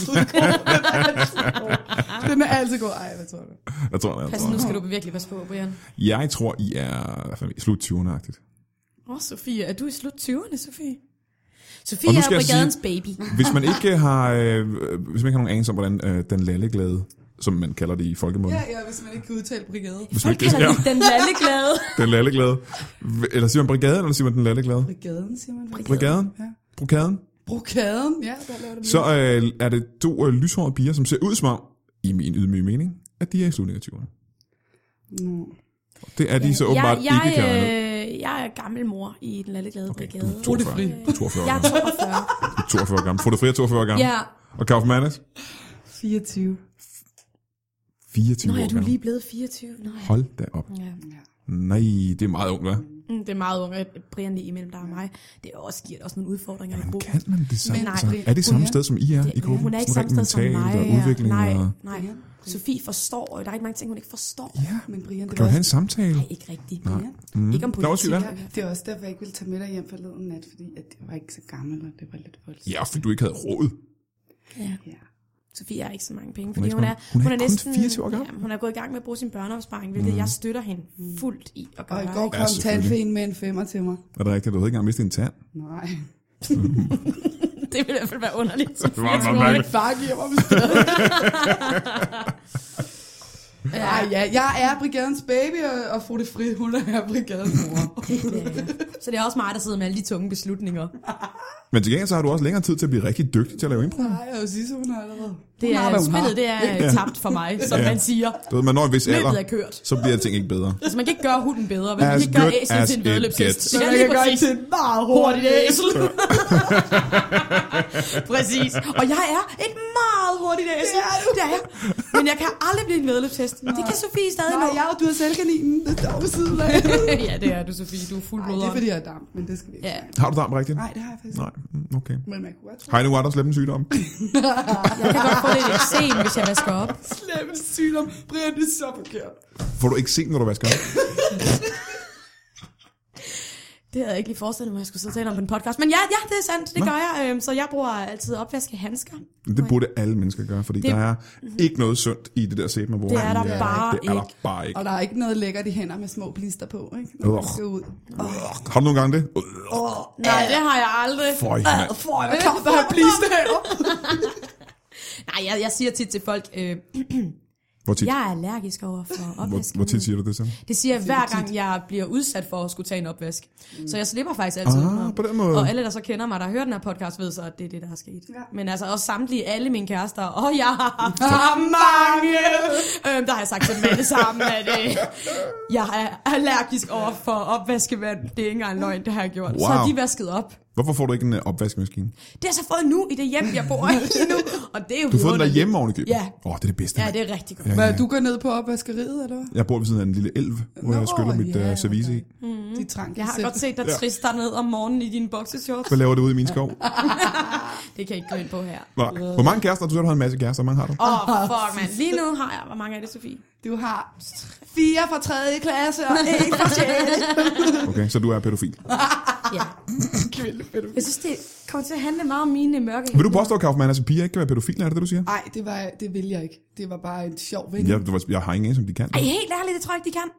Den er altid god. Ej, hvad tror du? Jeg tror, jeg, Pas, tror, nu jeg. skal du virkelig passe på, Brian. jeg tror, I er hvad fanden, i slut 20'erne-agtigt. Åh, oh, Sofie, er du i slut 20'erne, Sofie? Sofie Og nu er skal jeg brigadens baby. Hvis man ikke øh, har, øh, hvis man ikke har nogen anelse om, hvordan øh, den lalleglade, som man kalder det i folkemunden, Ja, ja. ja, hvis man ikke kan udtale brigade. hvis man Folk ikke det kalder her, den den lalleglade. den lalleglade, V- eller siger man brigade, eller siger man den lalleglade? Brigaden, siger man. vel? Brigaden? Ja. Brokaden? Brokaden, ja, der laver det Så øh, er det to øh, lyshårede piger, som ser ud som om, i min ydmyge mening, at de er i slutningen af 20'erne. Nå. Det er de så åbenbart Jeg, jeg, ikke kan regne ud. øh, jeg er gammel mor i den lalleglade okay. Du brigade. er 42. fri. Du er 42 år Jeg er gammel. 42. Du er 42 år gammel. Fru Fri er 42 år gammel. ja. Og Kaufmannes? 24. 24 Nå, år er du gammel. lige blevet 24? Nej. Hold da op. Ja. Ja. Nej, det er meget ungt, hva'? Mm, Det er meget unge, Brian lige imellem dig og mig. Det er også, giver også nogle udfordringer i Men gruppen. kan man det samme? Men nej, altså, det- er det samme hun er- sted, som I er i gruppen? Hun er ikke Sådan samme sted rent som mig. mentalt Og udvikling nej, og... nej. Brian. Sofie forstår, og der er ikke mange ting, hun ikke forstår. Ja, Men Brian, det kan var du have en samtale? Nej, ikke rigtigt. Ja. Mm. Ikke om Nå, undskyld, politik. hvad? Ja, det er også derfor, jeg ikke ville tage med dig hjem forleden nat, fordi at det var ikke så gammel, og det var lidt voldsomt. Ja, fordi du ikke havde råd. Ja. ja. Sofie har ikke så mange penge, Hun er fordi ikke hun så er, mange- hun er kun 24 år gammel. Mhm. Jamen, hun er gået i gang med at bruge sin børneopsparing, hvilket mm. jeg støtter hende fuldt i at Og gøre. i går ikke? Ja, kom selvfølgelig. tandfæen med en femmer til mig. Er det rigtigt? Du havde ikke engang mistet en tand. Nej. Det vil i hvert fald være underligt. Det var Det var lidt far giver mig besked. ja, ja, jeg er brigadens baby, og- og Frode Fri, hun er brigadens mor. Ja. Så det er også mig, der sidder med alle de tunge beslutninger. Men til gengæld så har du også længere tid til at blive rigtig dygtig til at lave impro. Nej, jeg vil sige, så hun har allerede. Det Hun har, er, hvad hun har. spillet det er øh, tabt for mig, som Ja. man siger. Du ved, man når en vis alder, Løbet er kørt. så bliver ting ikke bedre. Altså, man kan ikke gøre hunden bedre, men man As kan ikke gøre good æslet as til en it vedløbshest. gets. Så Ja, jeg lige kan gøre præcis. til et meget Hurtigt hurtigt æsel. æsel. præcis. Og jeg er et meget hurtigt æsel. Det er du. Det er jeg. Men jeg kan aldrig blive en vedløbshest. Men det kan Sofie stadig nå. Nej, jeg og du har selvkaninen, det står ved siden af. ja, det er du, Sofie. Du er fuld Nej, det er fordi, jeg er damp, men det skal vi ikke. Ja. snakke Har du damp rigtigt? om. Nej, det har jeg faktisk Nej, mm, okay. ikke. Men man kunne godt tro. Hej, nu er der slet en sygdom. Jeg kan godt få lidt eksem, hvis jeg vasker op. Slemmens sygdom. Brian, det er så forkert. Får du ikke se, når du vasker op? Det havde jeg ikke lige forestillet mig, at jeg skulle sidde og tale om på en podcast. Men ja, ja, det er sandt. Det Nå. gør jeg. Øhm, Så jeg bruger altid opvaskehandsker. Men Det burde alle mennesker gøre, fordi Det- det... der er ikke noget sundt i det der sæbe, man bruger. Det er der i, øh, bare det er der ikke. bare ikke. Og der er ikke noget lækkert i hænder med små blister på, ikke? Når man Ugh. skal ud. Ugh, Har du nogle gange det? Ugh, Nej, det har jeg aldrig. Føj, mand. For Øh. jeg kom, der er blister heroppe. Nej, jeg, jeg siger tit til folk, øh, Hvor tit, jeg er allergisk over for hvor, opvaskemiddel. hvor tit siger du det så? Det siger jeg hver gang, jeg bliver udsat for at skulle tage en opvask. Så jeg slipper faktisk altid. Mm. Ah, udenom. på den måde. Og alle, der så kender mig, der hører den her podcast, ved så, at det er det, der er sket. Ja. Men altså også samtlige, alle mine kærester, og jeg har haft For mange! Øhm, der har jeg sagt til dem alle sammen, at øh, jeg er allergisk over for opvaskevand. Det er ikke engang løgn, det har jeg gjort. Så Wow. har de vasket op. Hvorfor får du ikke en øh, opvaskemaskine? Det har jeg så fået nu i det hjem, jeg bor i lige nu. Og det er jo Du har fået den vidunderligt. derhjemme oven i købet? Ja. Åh, oh, det er det bedste. Ja, mand. det er rigtig godt. Ja, Hvad, ja. du går ned på opvaskeriet, eller hvad? Jeg bor ved siden af en lille elv, hvor Nå, jeg skyller mit ja, uh, service i. Mm. De trang, Jeg har godt set dig Ja. trist dernede om morgenen i dine boxershorts. Hvad laver du ude i min skov? Det kan jeg ikke gå ind på her. Nej. Hvor mange kærester? Du sagde, du havde en masse kærester. Hvor mange har du? Åh, oh, fuck, mand. Lige nu har jeg... Hvor mange er det, Sofie? Du har fire fra tredje klasse og en fra sjette. Okay, så du er pædofil. Ja. Jeg synes, det kommer til at handle meget om mine mørke. Vil du påstå, Kaufmann, at altså, piger ikke kan være pædofil? Er det det, du siger? Nej, det, var, det ville jeg ikke. Det var bare en sjov ven. Jeg, jeg har ingen anelse, om de kan. Ej, helt ærligt, det tror jeg ikke, de kan.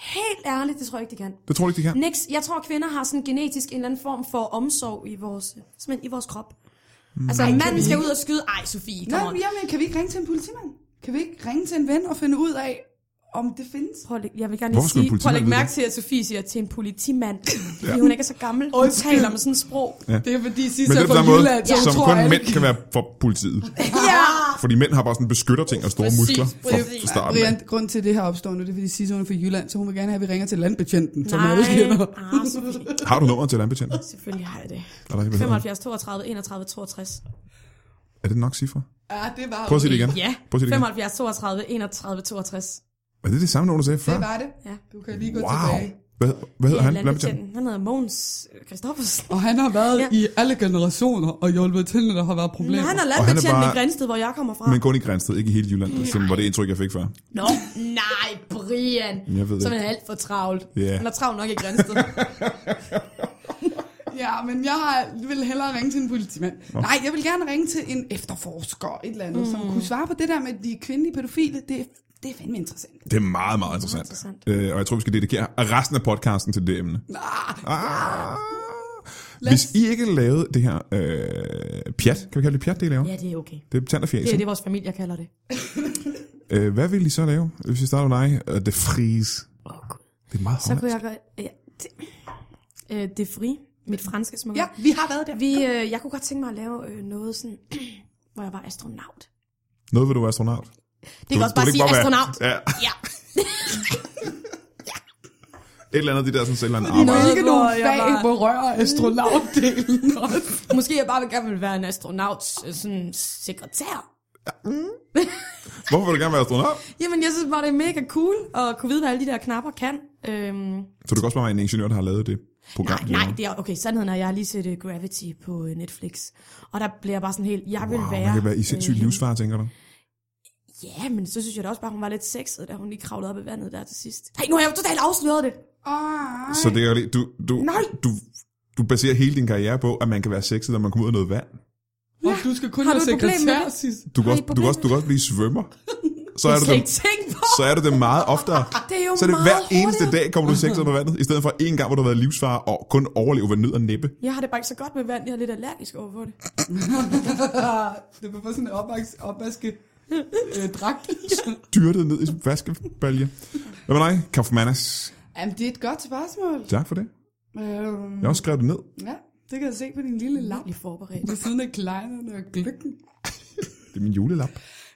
Helt ærligt, det tror jeg ikke, de kan. Det tror jeg ikke, de kan. Nix, jeg tror, kvinder har sådan genetisk en eller anden form for omsorg i vores, simpelthen i vores krop. Mm. Altså, en mand skal ud og skyde. Ej, Sofie, Nå, kom on. men jamen, kan vi ikke ringe til en politimand? Kan vi ikke ringe til en ven og finde ud af, om det findes? Prøv at lægge, jeg vil gerne Hvorfor lige skulle en sige, prøv at lægge politimand mærke til, at Sofie siger til en politimand, fordi hun ikke er så gammel. Hun Undskyld. taler med sådan et sprog. Ja. Det er fordi Men sidst det jeg er på fra samme måde, Jylland, så som tror kun jeg mænd ikke- kan være for politiet. Ja! Fordi mænd har bare sådan beskytter ting og store Præcis, muskler fra, præcis. fra starten. af. Brian, grund til at det her opstår nu, det er fordi sidst hun er fra Jylland, så hun vil gerne have, at vi ringer til landbetjenten, som jeg Nej, også kender. ah, Sofie. Har du nummeret til landbetjenten? Selvfølgelig har jeg det. Er, der ikke, hvad hedder 75, 32, 31, 62. den? er det nok cifre? Ja, det var Prøv at sige det igen. Ja, Prøv at sige det igen. 75, 32, 31, 62. Er det det samme nummer, du sagde før? Det var det. Ja. Du kan lige gå Wow. tilbage. Hvad, hvad hedder Ja, han? Landbetjenten? Han hedder Mogens Christoffersen. Og han har været Ja. ja. i alle generationer og hjulpet til, når der har været Men problemer. han Og er han er landbetjent bare- i Grænsted, hvor jeg kommer fra. Men kun i Grænsted, ikke i hele Jylland, som var det indtryk, jeg fik før. Nå, nej, Brian. Jeg ved Så er ikke. han alt for travlt. Ja. Han er travlt nok i Grænsted. Ja, men jeg har- vil hellere ringe til en politimand. Nej, jeg vil gerne ringe til en efterforsker, et eller andet, mm. som kunne svare på det der med de kvindelige pædofile. Det, er- det er fandme interessant. Det er meget, meget interessant. interessant. Øh, og jeg tror, vi skal dedikere resten af podcasten til det emne. Ah. Hvis I ikke lavede det her øh, pjat, kan vi kalde det pjat, det I laver? ja, det er okay. Det er tand og fjæs, Det er ikke? det, vores familie kalder det. Øh, hvad vil I så lave, hvis vi starter med dig? Uh, det fries. Åh, oh, Gud. Det er meget Så hollandsk. kunne jeg gøre... Ja, det, øh, det er fri. Mit franske smukke. Ja, vi har været der. Vi, øh, jeg kunne godt tænke mig at lave øh, noget sådan, hvor jeg var astronaut. Noget vil du være astronaut. Det kan du, også bare vil sige ikke være- astronaut. Ja, Ja. et eller andet, det der sådan selv en Der arbejde. er Noget, ikke hvor nogen jeg fag var- berører astronautdelen også. Måske jeg bare vil gerne vil være en astronauts øh, sådan, sekretær. Hvorfor vil du gerne være astronaut? Jamen, jeg synes bare, det er mega cool at kunne vide, hvad alle de der knapper kan. Øhm, Så du kan også bare være en ingeniør, der har lavet det program. nej, nej, det er, okay, sandheden er, at jeg har lige set uh, Gravity på uh, Netflix. Og der bliver jeg bare sådan helt, jeg vil Wow, være... man kan være i sindssygt øh, livsfar, tænker du? Ja, men så synes jeg da også bare, hun var lidt sexet, da hun lige kravlede op i vandet der til sidst. Nej, nu har jeg jo totalt afsløret det. Ej. Så det er jo lige- du, du, Nej. du, du baserer hele din karriere på, at man kan være sexet, når man kommer ud af noget vand. Og du skal kun Har du være et problem med sekretær, det? Sis. Du kan, Har I også, et du, kan problem også, du kan også blive svømmer. Så er, Jeg du slet dem, ikke tænkt på. så er du dem meget oftere. Det er jo Så er det meget hver eneste hurtigere. Mhm. dag, kommer du sexet under vandet, i stedet for en gang, hvor du har været livsfar og kun overlever ved nød og næppe. Jeg har det bare ikke så godt med vand, jeg er lidt allergisk overfor det. det var bare sådan en opvask, opvaske øh, dragt. Dyrtet ned i sin vaskebalje. Hvad med dig, Kaufmannas? Jamen, det er et godt spørgsmål. Tak for det. Øhm, Jeg har også skrevet det ned. ja, det kan jeg se på din lille lap. Lige forberedt. Ved siden af kleinerne og gløkken. Det er min julelap.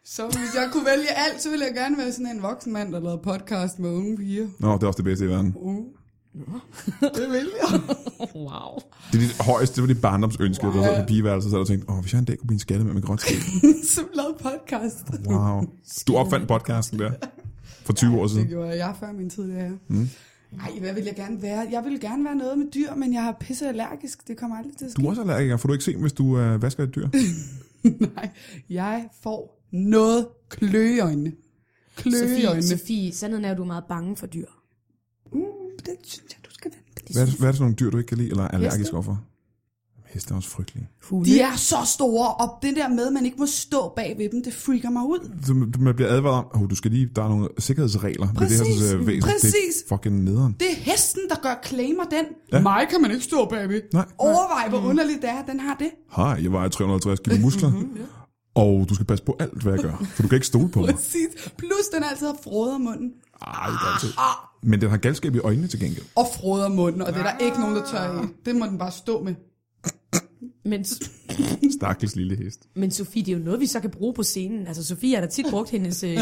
Så hvis jeg kunne vælge alt, så ville jeg gerne være sådan en voksen mand, der lavede podcast med unge piger. Nå, det er også det bedste i verden. Uh. Det vil jeg. Wow. Det er dit højeste, det var dit barndomsønske, wow. der sad på pigeværelset, så havde du tænkt, åh, hvis jeg en dag kunne blive en skatte med med grønt skæg. Som lavede podcast. Wow. Du opfandt podcasten der for 20 år siden. Det gjorde jeg før min tid, det er. Mm. Ej, hvad vil jeg gerne være? Jeg vil gerne være noget med dyr, men jeg er pisse allergisk. Det kommer aldrig til at Du ske. er også allergiker, får du ikke se, hvis du øh, vasker et dyr? Nej, jeg får noget kløeøjne. Sofie, Kløeøjne. Sofie, sandheden er jo, at du er meget bange for dyr. Mm, det synes jeg, du skal vente. på. Hvad er, det, hvad er det for nogle dyr, du ikke kan lide, eller er allergisk overfor? Heste er også frygtelige. Hunde. De er så store, og det der med, at man ikke må stå bag ved dem, det freaker mig ud. Du, du man bliver advaret om, oh, du skal lige, der er nogle sikkerhedsregler ved det her Præcis, sådan, øh, væsen. præcis. Det er fucking nederen. Det er hesten, der gør claimer den. Ja. Ja. Mig kan man ikke stå Mm. bagved. Nej. Overvej, hvor underligt det er, at den har det. Hej, jeg vejer 350 kilo muskler, Mhm, og du skal passe på alt, hvad jeg gør, for du kan ikke stole på mig. Præcis. Plus, den altid har froder munden. Ej, det er altid. Men den har galskab i øjnene til gengæld. Og froder munden, og det er der ikke nogen, der tør i. Det må den bare stå med. Men, Stakkels lille hest. men Sofie, det er jo noget, vi så kan bruge på scenen. Altså, Sofie har da tit brugt hendes øh,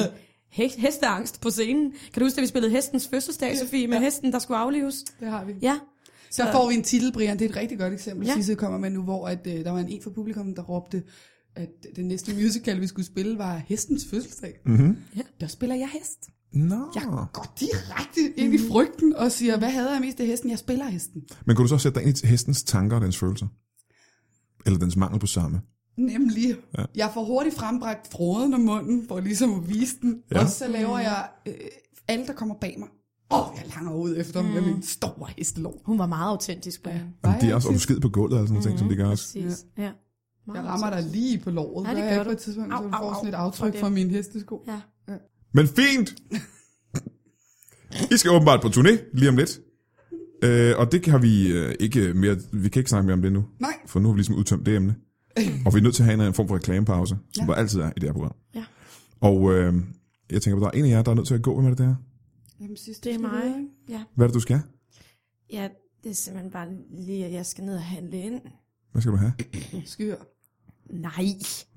he- hesteangst på scenen. Kan du huske, da vi spillede hestens fødselsdag, Sofie, med hesten, der skulle aflives? Det har vi. Ja. Så får vi en titel, Brian. Det er et rigtig godt eksempel, Ja. ja. Sisse kommer med nu, hvor at, øh, der var en en fra publikum, der råbte, at den næste musical, vi skulle spille, var Hestens Fødselsdag. Mm-hmm. Ja. Ja. Der spiller jeg hest. Mhm. Nå. Jeg går direkte ind i frygten og siger, hvad havde jeg mest af hesten? Jeg spiller hesten. Men kunne du så sætte dig ind i hestens tanker og dens følelser? Eller dens mangel på samme? Nemlig. Ja. Ja. Jeg får hurtigt frembragt froden om munden, for ligesom at vise den. Ja. Ja. Og så laver jeg øh, alle, der kommer bag mig. Åh, oh, jeg langer ud efter dem med Mm. min store hestelov. Hun var meget autentisk, Brian. Ja. Jamen, Var de er jeg også ikke? opskid på gulvet og sådan nogle ting, som de gør også. Præcis. Ja. ja. Meget Jeg rammer dig lige på låret. Ja, det Hvad er gør jeg du. På et tidspunkt, Au, så du au, får au. sådan et aftryk Fuck fra det. min hestesko. Ja. Men fint! I skal åbenbart på turné lige om lidt. Øh, og det har vi øh, ikke mere, vi kan ikke snakke mere om det nu. Nej, For nu har vi ligesom udtømt det emne. Og vi er nødt til at have en eller anden form for reklamepause, som ja. Ja. der altid er i det her program. Ja. Og øh, jeg tænker på, der er en af jer, der er nødt til at gå med det der. Jamen, sidst, Det er skal du mig. ud, ikke? Ja. Hvad er det, du skal? ja, det er simpelthen bare lige, at jeg skal ned og handle ind. Hvad skal du have? Skyr. Nej,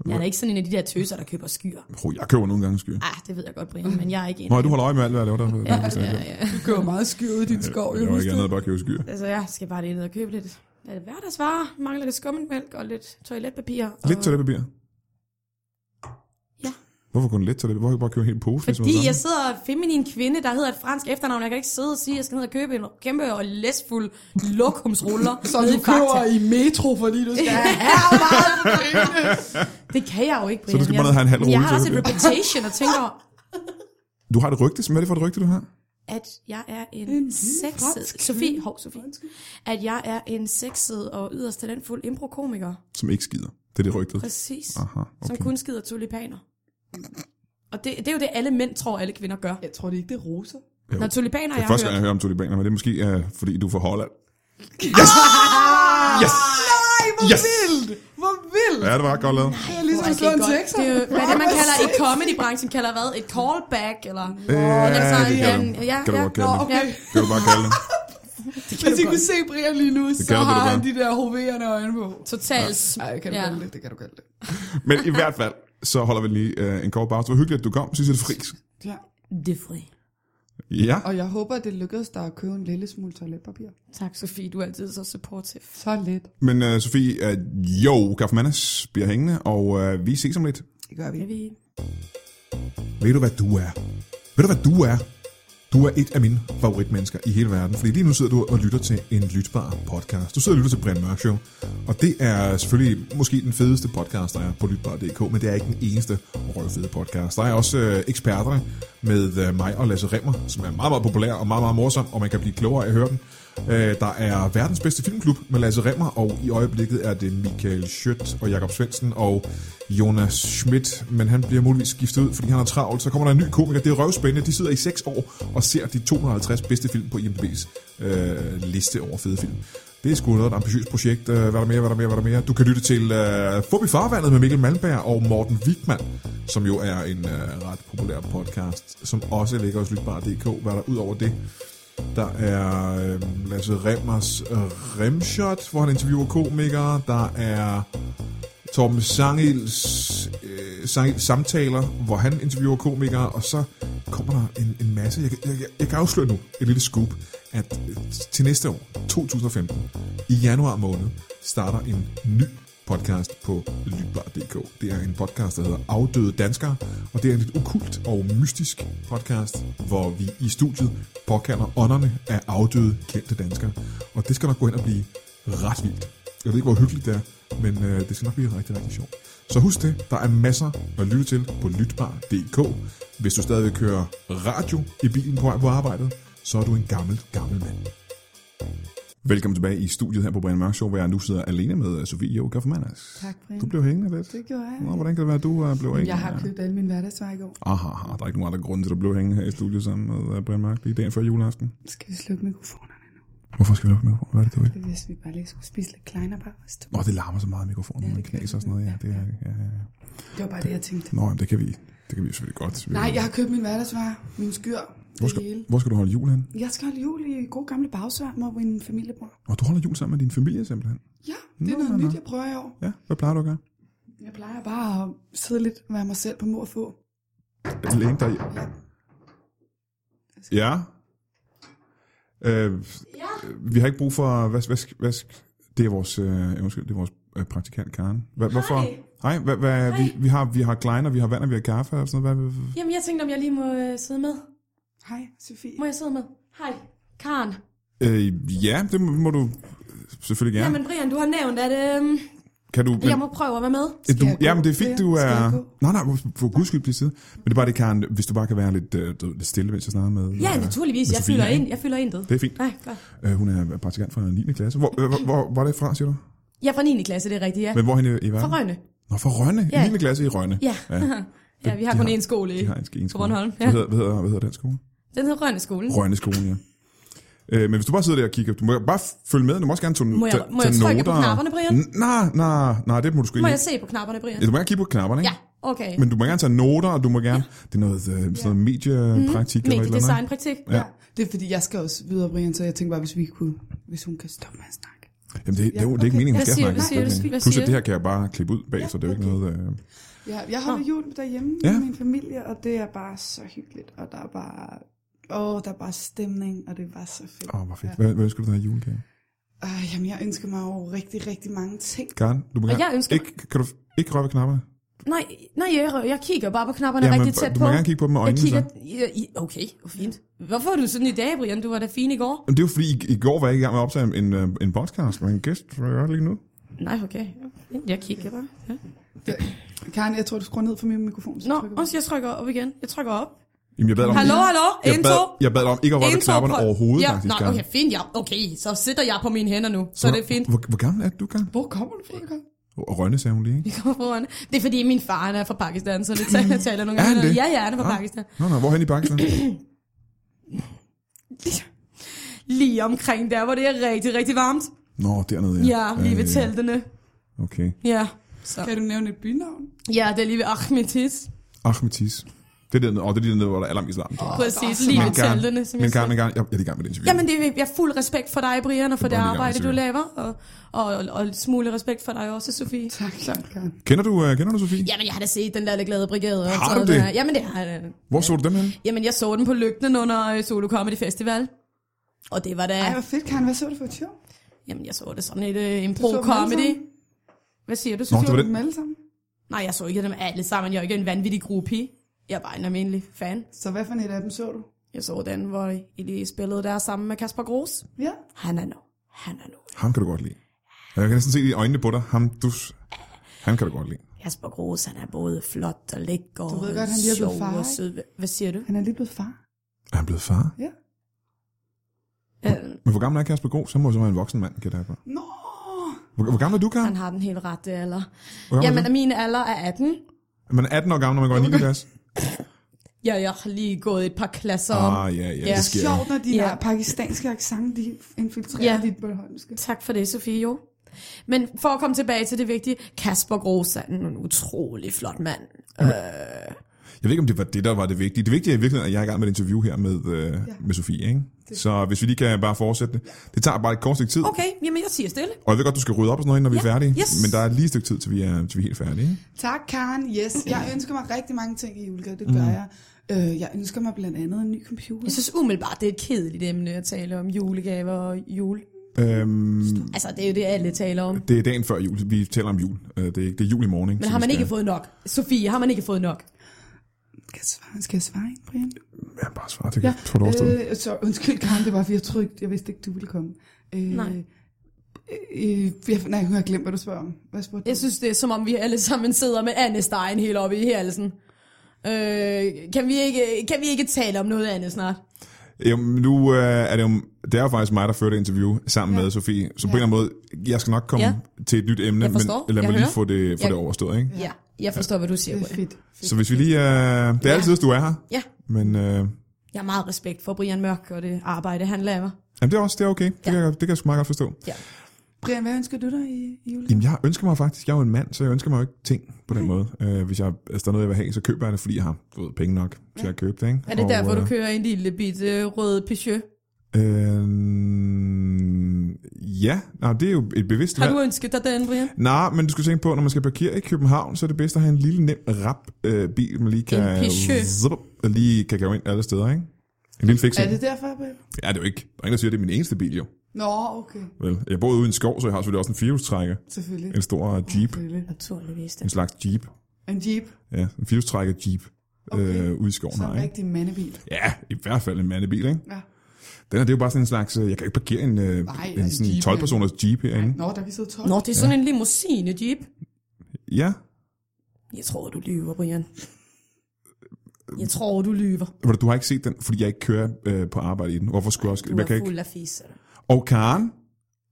jeg er da ikke sådan en af de der tøser, der køber skyer. Oh, jeg køber nogle gange skyer. Ah, det ved jeg godt, Brian, men jeg er ikke en Nå, af du dem. holder øje med alt, hvad jeg laver der. Ja, ja, ja. ja. Du kører meget skyr ud i din skov. Jeg vil husker ikke andet, bare købe skyer. Altså, jeg skal bare lige ned og købe lidt lidt hverdagsvarer. Mangler lidt skummetmælk og lidt toiletpapir. Og... Lidt toiletpapir. Ja. Hvorfor kun lidt toiletpapir? Hvorfor ikke bare købe en hel pose? hvis man Fordi er jeg sammen? sidder og feminin kvinde, der hedder et fransk efternavn. Jeg kan ikke sidde og sige, at jeg skal ned og købe en kæmpe og læsfuld lokumsruller. Så nede du i Fakta. kører i metro, fordi du skal have meget for pengene. Det kan jeg jo ikke, Brian. du skal bare ned Jeg- og have en halv Men Jeg rulle har også til. et reputation og tænker, Du har et rygte. Hvad er det for et rygte, du har? at jeg er en, En lille en sexet... fransk Sofie, hov, Sofie. At jeg er en sexet og yderst talentfuld improkomiker. Som ikke skider. Det er det rygte. Præcis. Aha, Som okay. kun skider tulipaner. Og det, det er jo det, alle mænd tror, alle kvinder gør. Jeg tror det ikke, det er roser. Jo. Når tulipaner, Det jeg er har første gang, hørt, jeg hører om tulipaner, men det er måske, uh, fordi du er fra Holland. Yes! Nej, hvor Yes! vildt! Hvor vildt! Ja, det var ret godt lavet. Det er ligesom at slå en sekser. Det er jo, hvad er det, man kalder i comedybranchen, kalder hvad? Et callback, eller... Ja, den det sang, kan den- du. ja, Kan du ja. godt kalde Nå, det. okay. Ja. Kan du bare kalde det. Hvis I godt. kunne se Brian lige nu, så kan du har godt. han de der hoverende øjne på. Totalt... Nej, kan du ja. kalde det, det kan du kalde det. Men i hvert fald, så holder vi lige uh, en kort pause. Det var hyggeligt, at du kom. Synes jeg, det er frisk. Ja. Det er fri. Ja. Og jeg håber, det lykkedes dig at købe en lille smule toiletpapir. Tak, Sofie. Du er altid så supportive. Så lidt. Men uh, Sofie, uh, jo, Kaffemanas bliver hængende, og uh, vi ses om lidt. Det gør vi. Er vi... Ved du, hvad du er? Ved du, hvad du er? Du er et af mine favoritmennesker i hele verden, fordi lige nu sidder du og lytter til en lytbar podcast. Du sidder og lytter til Brian Mørk Show, og det er selvfølgelig måske den fedeste podcast, der er på lytbar.dk, men det er ikke den eneste røvfede podcast. Der er også øh, eksperterne med øh, mig og Lasse Remmer, som er meget, meget populær og meget, meget morsom, og man kan blive klogere af at høre den. Øh, der er verdens bedste filmklub med Lasse Remmer, og i øjeblikket er det Michael Schødt og Jakob Svendsen og Jonas Schmidt, men han bliver muligvis skiftet ud, fordi han er travlt. Så kommer der en ny komiker, det er røvspændende. De sidder i 6 år og ser de 250 bedste film på IMDb's øh, liste over fede film. Det er sgu noget af et ambitiøst projekt. Øh, Hvad er der mere, hvad er der mere, hvad er der mere? Du kan lytte til øh, Fup i farvandet med Mikkel Malmberg og Morten Wigman, som jo er en øh, ret populær podcast, som også ligger hos lytbar.dk. Hvad er der ud over det? Der er øh, Lasse Remmers øh, Remshot, hvor han interviewer komikere. Der er Torben Sangils, øh, Sangils samtaler, hvor han interviewer komikere. Og så kommer der en, en masse. Jeg, kan- jeg, jeg, jeg kan afsløre nu et lille scoop, at øh, til næste år, 2015, i januar måned, starter en ny podcast på lytbar.dk. Det er en podcast, der hedder Afdøde Danskere, og det er en lidt okult og mystisk podcast, hvor vi i studiet påkalder ånderne af afdøde kendte danskere. Og det skal nok gå hen og blive ret vildt. Jeg ved ikke, hvor hyggeligt det er, men øh, det skal nok blive rigtig, rigtig sjovt. Så husk det, der er masser at lytte til på lytbar.dk. Hvis du stadigvæk kører radio i bilen på vej på arbejdet, så er du en gammel, gammel mand. Velkommen tilbage i studiet her på Brian Mørk Show, hvor jeg nu sidder alene med øh, Sofie Joker for mandags. Tak, Brian. Du blev hængende lidt. Det gjorde jeg. Nå, hvordan kan det være, at du øh, blev hængende? Jeg har købt alle mine hverdagsvarer i går. Aha, aha, der er ikke nogen andre grunde til, at du blev hængende her i studiet sammen med øh, Brian Mørk lige dagen før juleaften. Skal vi slukke mikrofonerne nu? Hvorfor skal vi lukke mikrofonen? Hvad er det, du vil? Det hvis vi bare lige skulle spise lidt kleinerbarst. Nå, det larmer så meget mikrofonen, når man knaser og sådan noget. Ja, det er, ja, ja, ja. Det var bare det, jeg tænkte. Nå, jamen, det kan vi, det kan vi selvfølgelig godt. Vi- Nej, jeg har købt mine hverdagsvarer, mine skyr, hvor det skal, hele. hvor skal du holde jul hen? Jeg skal holde jul i god gamle bagsvær, hvor min familie bor. Og du holder jul sammen med din familie simpelthen? Ja, det Nå, er noget nå, nå. nyt, jeg prøver i år. Ja, hvad plejer du at gøre? Jeg plejer bare at sidde lidt og være mig selv på mor og få. Læne dig i- Ja. Øh, Ja. vi har ikke brug for... Hvad, hvad, hvad, det er vores, øh, undskyld, det er vores øh, praktikant, Karen. Hva, hvorfor? Hej, hvad, hvad, Hej. Vi, vi, har, vi har kleiner, vi har vand, og vi har kaffe og sådan noget. Hvad, hvad, Jamen, jeg tænkte, om jeg lige må øh, sidde med. Hej, Sofie. Må jeg sidde med? Hej, Karen. øh, ja, det må, må du selvfølgelig Ja. gerne. Jamen, Brian, du har nævnt, at øh, kan du, jeg må prøve at være med. Øh, Du, jeg gå jamen, det er fint, der? du Skal er... jeg gå? Nej, nej, for- for guds skyld, bliv sidde. Men det er bare det, Karen, hvis du bare kan være lidt, øh, du ved, lidt stille, mens jeg snakker med... Ja, øh, naturligvis. med Jeg Sofie fylder her, ind. ikke? Jeg fylder intet. Det er fint. Nej, godt. Øh, hun er praktikant fra 9. klasse. Hvor, øh, hvor, hvor, hvor er det fra, siger du? Jeg er fra 9. klasse, det er rigtigt, ja. Men hvor er hende i verden? Fra Rønne. Nå, fra Rønne. Ja. Ja. 9. klasse i Rønne. Ja. ja, vi har de kun har- én skole i. De har en, en skole. Bornholm, ja. Hvad, hedder, hvad, hedder, hvad hedder den skole? Den hedder Rønneskolen. Rønne skole, ja. Øh, men hvis du bare sidder der og kigger, du må bare følge med, du må også gerne tage, Må jeg- tage, må jeg tage trykke på noter. knapperne, Brian? Nej, nej, nej, det må du sgu Må ikke. jeg se på knapperne, Brian? Ja, du må gerne kigge på knapperne, ikke? Ja, okay. Men du må gerne tage noter, og du må gerne... Det er noget, øh, sådan noget mediepraktik eller et eller andet. Mhm. Mediedesign praktik. Ja. Det er fordi, jeg skal også videre, Brian, så jeg tænkte bare, hvis vi kunne, hvis hun kan stoppe med at snakke. Jamen, det, ja, det, er jo- det er okay. ikke meningen, hun Hvad skal siger snakke. du? Hvad det er ikke siger du? meningen. Hvad Plus, siger at det her kan jeg bare klippe ud bag, så det er jo ikke noget... Øh... Ja, jeg holder jul derhjemme Ja. ja. med min familie, og det er bare så hyggeligt, og der er bare... Åh, der er bare stemning, og det er bare så fedt. Åh, hvor fedt. Hvad, hvad ønsker du dig i julegave? Øh, jamen, jeg ønsker mig jo rigtig, rigtig mange ting. Karen, du må Og gerne... jeg ønsker- Ikke, kan du f- ikke røre ved knapperne? Nej, nej jeg, jeg kigger bare på knapperne Jamen, rigtig tæt du på. må gerne kigge på dem med jeg øjnene, kigger, ja, i- Okay, hvor fint. Hvorfor er du sådan i dag, Brian? Du var da fin i går. Jamen, det er jo fordi, i, i går var jeg ikke i gang med at optage en, øh, en podcast med en gæst, som jeg gør lige nu. Nej, okay. Jeg kigger bare. Ja. Karen, jeg tror, du skruer ned for min mikrofon. Så Nå, trykker du. også jeg trykker op igen. Jeg trykker op. Jamen, jeg bad dig om... Hallo, hallo. Jeg En, bad, to. jeg bad dig om ikke at røre ved En, to, knapperne prøv- overhovedet, ja, faktisk, nej, Karen. okay, fint. Ja, okay, så sidder jeg på mine hænder nu. Så er det er fint. Hvor, hvor gammel er du, Karen? Hvor kommer du fra, Karen? Og Rønne sagde hun lige, ikke? Vi kommer foran. Det er fordi, min far han er fra Pakistan, så det taler, jeg taler nogle Er han gange. det? Ja, ja, han er fra Ah. Pakistan. Nå, nå, hvorhen i Pakistan? Lige omkring der, hvor det er rigtig, rigtig varmt. Nå, dernede, ja. Ja, lige ved Øh, teltene. Okay. Ja. Så. Kan du nævne et bynavn? Ja, det er lige ved Ahmedis. Ahmetis. Det er dernede, og det er dernede, hvor der er alarmislam. Oh, Præcis, der er lige men ved Karen, teltene, som men jeg Karen, sagde. men Karen, jeg, jeg er i gang med det interview. Jamen, det er, jeg har fuld respekt for dig, Brian, og for Det det, er bare lige arbejde, du gange, laver, og, og, og et smule respekt for dig også, Sofie. Tak, tak, Karen. Kender du, øh, kender du Sofie? Jamen, jeg har da set den der glade brigade. og Har du taget det? den her. Jamen, det har jeg da. Hvor så du dem hen? Jamen, jeg så den på lygten under øh, Solo Comedy Festival. Og det var da... Ej, hvor fedt, Karen. Hvad så du for et show? Jamen, jeg så det sådan et Du øh, så dem alle impro-comedy. sammen? Hvad siger du, Nå, Så det Sofie? var du dem alle sammen? Nej, jeg så ikke dem alle sammen. Jeg er ikke en vanvittig gruppe pige. Jeg er bare en almindelig fan. Så hvad for et af dem så du? Jeg så den, hvor I lige spillede der sammen med Kasper Gros. Ja. Han er nu. Han er nu. Ham kan du godt lide. Jeg kan næsten se det i øjnene på dig. Ham, du... Han kan du godt lide. Kasper Gros, han er både flot og lækker Du ved og godt, han lige er blevet sjov far, og ikke? sød. Hvad siger du? Han er lige blevet far. Er han blevet far? Ja. Øh, Men hvor gammel er Kasper Gro? Så må så være en voksen mand, kan jeg på. Nå! Hvor, hvor gammel er du, Karen? han har den helt rette alder. Hvor gammel er Jamen, min alder er 18. du? Man er 18 år gammel, når man går i 9. klasse. Ja, jeg har lige gået et par klasser om. Ah, ja, ja, Ja. det sker. Sjovt, når de Ja. der pakistanske accent, de infiltrerer Ja. dit bornholmske. Tak for det, Sofie, jo. Men for at komme tilbage til det vigtige, Kasper Gros er en utrolig flot mand. Jeg ved ikke, om det var det, der var det vigtige. Det vigtige er i virkeligheden, at jeg er i gang med et interview her med, øh, ja. med Sofie. Ikke? Så hvis vi lige kan bare fortsætte det. Det tager bare et kort stykke tid. Okay. Okay, jamen jeg siger stille. Og jeg ved godt, du skal rydde op og sådan noget, når vi er Ja, færdige. yes. Men der er lige et stykke tid, til vi er, til vi er helt færdige. ikke? Tak, Karen. Yes. Jeg ønsker mig rigtig mange ting i julegave, det gør jeg. Øh, jeg ønsker mig blandt andet en ny computer. Jeg synes umiddelbart, det er et kedeligt emne at tale om julegaver og jul. Øhm, Altså, det er jo det, alle taler om. det er dagen før jul. Vi taler om jul. Øh, Det er, det er jul i morgen. Men har man ikke fået nok? Sofie, har man ikke fået nok? Skal jeg svare, skal jeg svare ind, Brian? Ja, bare svar. Det kan ja. du overstå. Øh, så undskyld, Karen, det var, fordi jeg trygt. Jeg vidste ikke, du ville komme. Øh, Nej. Øh, jeg, nej, jeg har glemt, hvad du spørger om. Hvad spurgte du? Jeg synes, det er som om, vi alle sammen sidder med andestegen helt oppe i halsen. Øh, kan, vi ikke, kan vi ikke tale om noget andet snart? Jamen, nu øh, er det jo, det er jo faktisk mig, der førte interview sammen ja. med Sofie. Så på ja. en eller anden måde, jeg skal nok komme ja. Ja. til et nyt emne, men Jeg forstår. lad Jeg mig lige hører. få det, få Jeg- det overstået. Ikke? Ja, ja jeg forstår, hvad du siger. det er Brian. fedt. Så hvis vi lige... Øh, det er altid, du er her. Ja, Men øh, jeg har meget respekt for Brian Mørk og det arbejde, han laver. jamen, det er også det er okay. Det, ja. Ja. kan, jeg- det kan jeg sgu meget godt forstå. Brian, hvad ønsker du dig i, i julegave? Jamen, jeg ønsker mig faktisk... Jeg er jo en mand, så jeg ønsker mig jo ikke ting på den Mm. måde. Øh, hvis jeg, altså, der er noget, jeg vil have, så køber jeg det, fordi jeg har du ved, penge nok til at købe det. Ikke? Er det Og, derfor, øh, du kører en lille bitte øh, rød Peugeot? Øh, ja, Nå, det er jo et bevidst Har valg. du ønsket dig den, Brian? Nej, men du skal tænke på, når man skal parkere i København, så er det bedst at have en lille nem rap øh, bil, man lige kan, En Peugeot. zup, og lige kan gå ind alle steder, ikke? En lille fix. Er det derfor, Peter? Ja, det er jo ikke. Der er ingen, der siger, det er min eneste bil jo. Nå, okay. Vel, jeg bor ude i en skov, så jeg har selvfølgelig også en firehjulstrækker. Selvfølgelig. En stor jeep. Mm. Selvfølgelig. Naturligvis det. En slags jeep. En jeep. Ja, en firehjulstrækker jeep. Okay. Okay. Øh, ude i skoven Så her, en ikke? rigtig mandebil. Ja, i hvert fald en mandebil, ikke? Ja. Den her, det er jo bare sådan en slags, øh, jeg kan jo ikke parkere en, øh, Nej, altså en en sådan Jeep, 12-personers jeep herinde. Nå, der kan vi sidde 12. Nå, det er sådan ja. en limousine, Jeep. Ja, Jeg tror, du lyver, Brian. Jeg tror, du lyver. men du har ikke set den, fordi jeg ikke kører øh, på arbejde i den. Hvorfor skulle jeg også? Du Jeg kan er ikke. fuld af fis. Og Karen,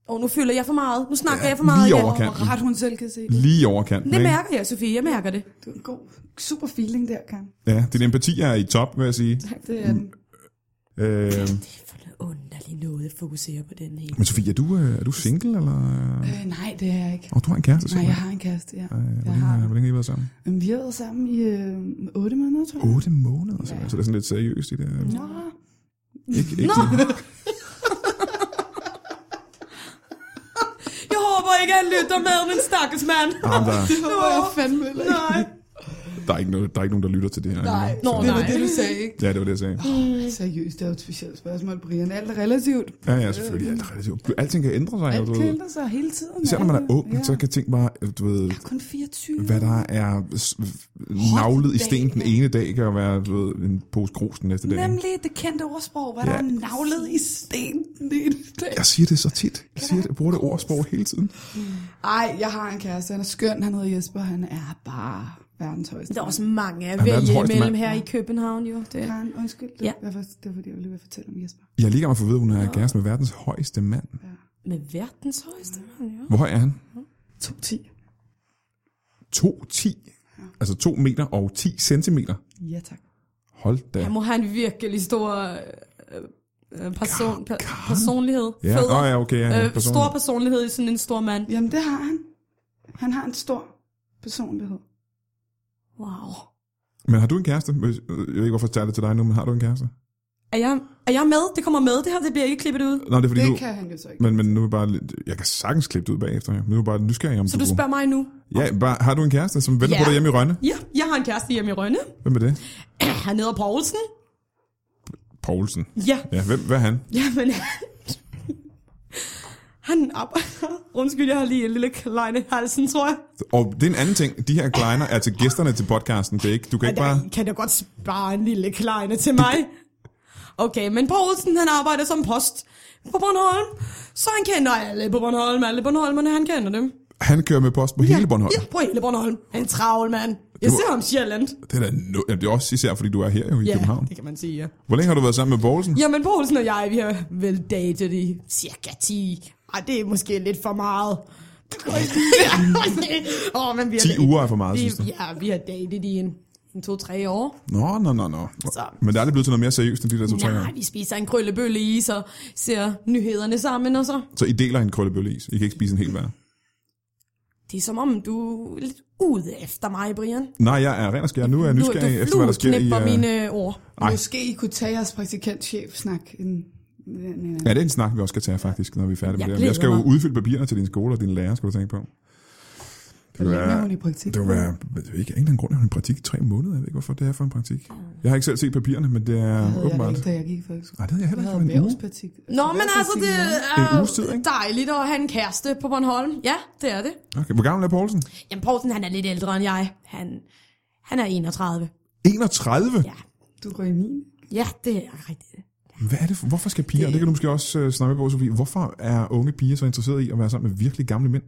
Og nu føler jeg for meget. Nu snakker ja, jeg for meget lige igen. over Hvor kanten. ret hun selv kan se det. Lige over kanten, Det ikke? mærker jeg, Sofie. Jeg mærker det. Det er en god, super feeling der, Karen. Ja, din empati er i top, vil jeg sige. Det er Mm. den. Øh, Det er for noget underligt noget at fokusere på den her. men Sofie, er du, øh, er du single, eller? Åh, Øh, nej, det er jeg ikke. oh, du har en kæreste, Nej, jeg simpelthen. har en kæreste, ja. Øh, Hvor Jeg længe, har. har- hvor længe har I været sammen? Men vi har været sammen i øh, 8 måneder, tror jeg. 8 måneder, så, så det er sådan lidt seriøst i det. Nå, Ikke, ikke sådan- Jeg håber ikke, at han lytter med, min stakkels mand. Ah, men der, det håber jeg fandme heller ikke. der, Nej. er ikke noget, der er ikke nogen, der lytter til det her. Nej, ikke? Nå, Så- det var nej. det, du sagde, ikke? Ja, det var det, jeg sagde. Mm. Seriøst, det er jo et specielt spørgsmål, Brian. Alt er relativt. Ja, ja, selvfølgelig. Alt er relativt. Alting kan ændre sig. jo, Alt du kan ved. ændre sig hele tiden. Især når man er Alle- ung, så kan ting bare, øh, du ved, Jeg er kun 24. hvad der er s- navlet i dag, sten den mand. ene dag, kan jo være du ved, en pose grus den næste dag. ikke? Nemlig det kendte ordsprog, hvad Ja. ja. der er navlet i sten. Det er det. Jeg siger det så tit. Jeg, siger det, jeg bruger det ordsprog hele tiden. Ej, jeg har en kæreste. Han er skøn. Han hedder Jesper. Han er bare verdens højeste. Der er også mange at verdens vælge højeste imellem mand. her i København, jo. Det er Karen, undskyld. Det, Ja. ja. hvorfor, det var det, jeg ville lige fortælle om Jesper. Jeg ligger mig for ved, at hun er kæreste med verdens højeste mand. med verdens højeste mand, jo. Hvor høj er han? 210. 2,10. Altså 2 meter og 10 centimeter. Ja, tak. Hold da. Han må have en virkelig stor øh, øh, person, per, Karen. personlighed. Ja, Fed. oh, ja okay. Ja, ja, øh, personligt. stor personlighed i sådan en stor mand. Jamen, det har han. Han har en stor personlighed. Wow. Men har du en kæreste? Hvis- øh, Jeg ved ikke, hvorfor jeg tager det til dig nu, men har du en kæreste? Er jeg, er jeg med? Det kommer med, det her. Det bliver ikke klippet ud. Nej, det er fordi Det nu... kan han jo så ikke. Men, men nu er jeg bare lidt... Jeg kan sagtens klippe det ud bagefter. ja. Men nu er jeg bare nysgerrig om Så du spørger mig nu. Ja, bare, har du en kæreste, som venter Ja. på dig hjemme i Rønne? Ja, jeg har en kæreste hjemme i Rønne. Hvem er det? Han hedder Poulsen. Poulsen. Ja, Ja, hvem, hvad er han? Jamen, han arbejder... Undskyld, jeg har lige en lille kleine i halsen, tror jeg. Og det er en anden ting. De her kleiner er til gæsterne til podcasten. Det er ikke, du kan ikke bare... Kan da godt spare en lille kleine til mig? Okay, men Poulsen, han arbejder som post på Bornholm. Så han kender alle på Bornholm. Alle Bornholmerne, han kender dem. Han kører med post på hele Bornholm. Ja, på hele Bornholm. En travl mand. Jeg Du- ser ham sjældent. Det er, da no... Jamen, det er også især, fordi du er her jo, i Ja, København. det kan man sige, ja. Hvor længe har du været sammen med Poulsen? Jamen, Poulsen og jeg, vi har vel datet i cirka 10. Ej, det er måske lidt for meget. Åh, oh, men vi har 10 uger er for meget, vi, synes du? Ja, vi har datet i en, en to-tre år. Nå, nå, nå, nå. Så- Men der er aldrig blevet til noget mere seriøst end de der to-tre Nej, gange. vi spiser en krøllebølle i, så ser nyhederne sammen, og så... Så I deler en krøllebølle is. I kan ikke spise en hel hver. Det er som om, du er lidt ude efter mig, Brian. Nej, jeg er ren og skær. Nu er jeg Du, nysgerrig du efter, hvad der sker i... flueknipper Uh... mine ord. Ej. Måske I kunne tage jeres praktikantchef-snak. En, en, en, en. Ja, det er en snak, vi også skal tage faktisk, når vi er færdige med Jeg det. her. glæder Jeg skal jo mig. udfylde papirerne til din skole og din lærer, skal du tænke på. Det kan Hvor længe er være, hun i praktik? det kan være jeg ved ikke, ingen grund, at hun er i praktik i tre måneder. Jeg ved ikke, hvorfor det er for en praktik. Jeg har ikke selv set papirerne, men det er Det havde jeg da åbenbart... ikke, da jeg gik i folkeskole. Nej, det havde jeg Jeg heller havde ikke for en uge. erhvervspraktik. Nå, men altså, det En uges tid, er ikke? dejligt at have en kæreste på Bornholm. Ja, det er det. Okay, hvor gammel er Poulsen? Jamen, Poulsen, han er lidt ældre end jeg. Han, han er 31. 31? Ja, Du går i min. ja det er rigtigt. Hvad er det for, hvorfor skal piger, og det kan du måske også øh, snakke med på, Sofie, hvorfor er unge piger så interesserede i at være sammen med virkelig gamle mænd?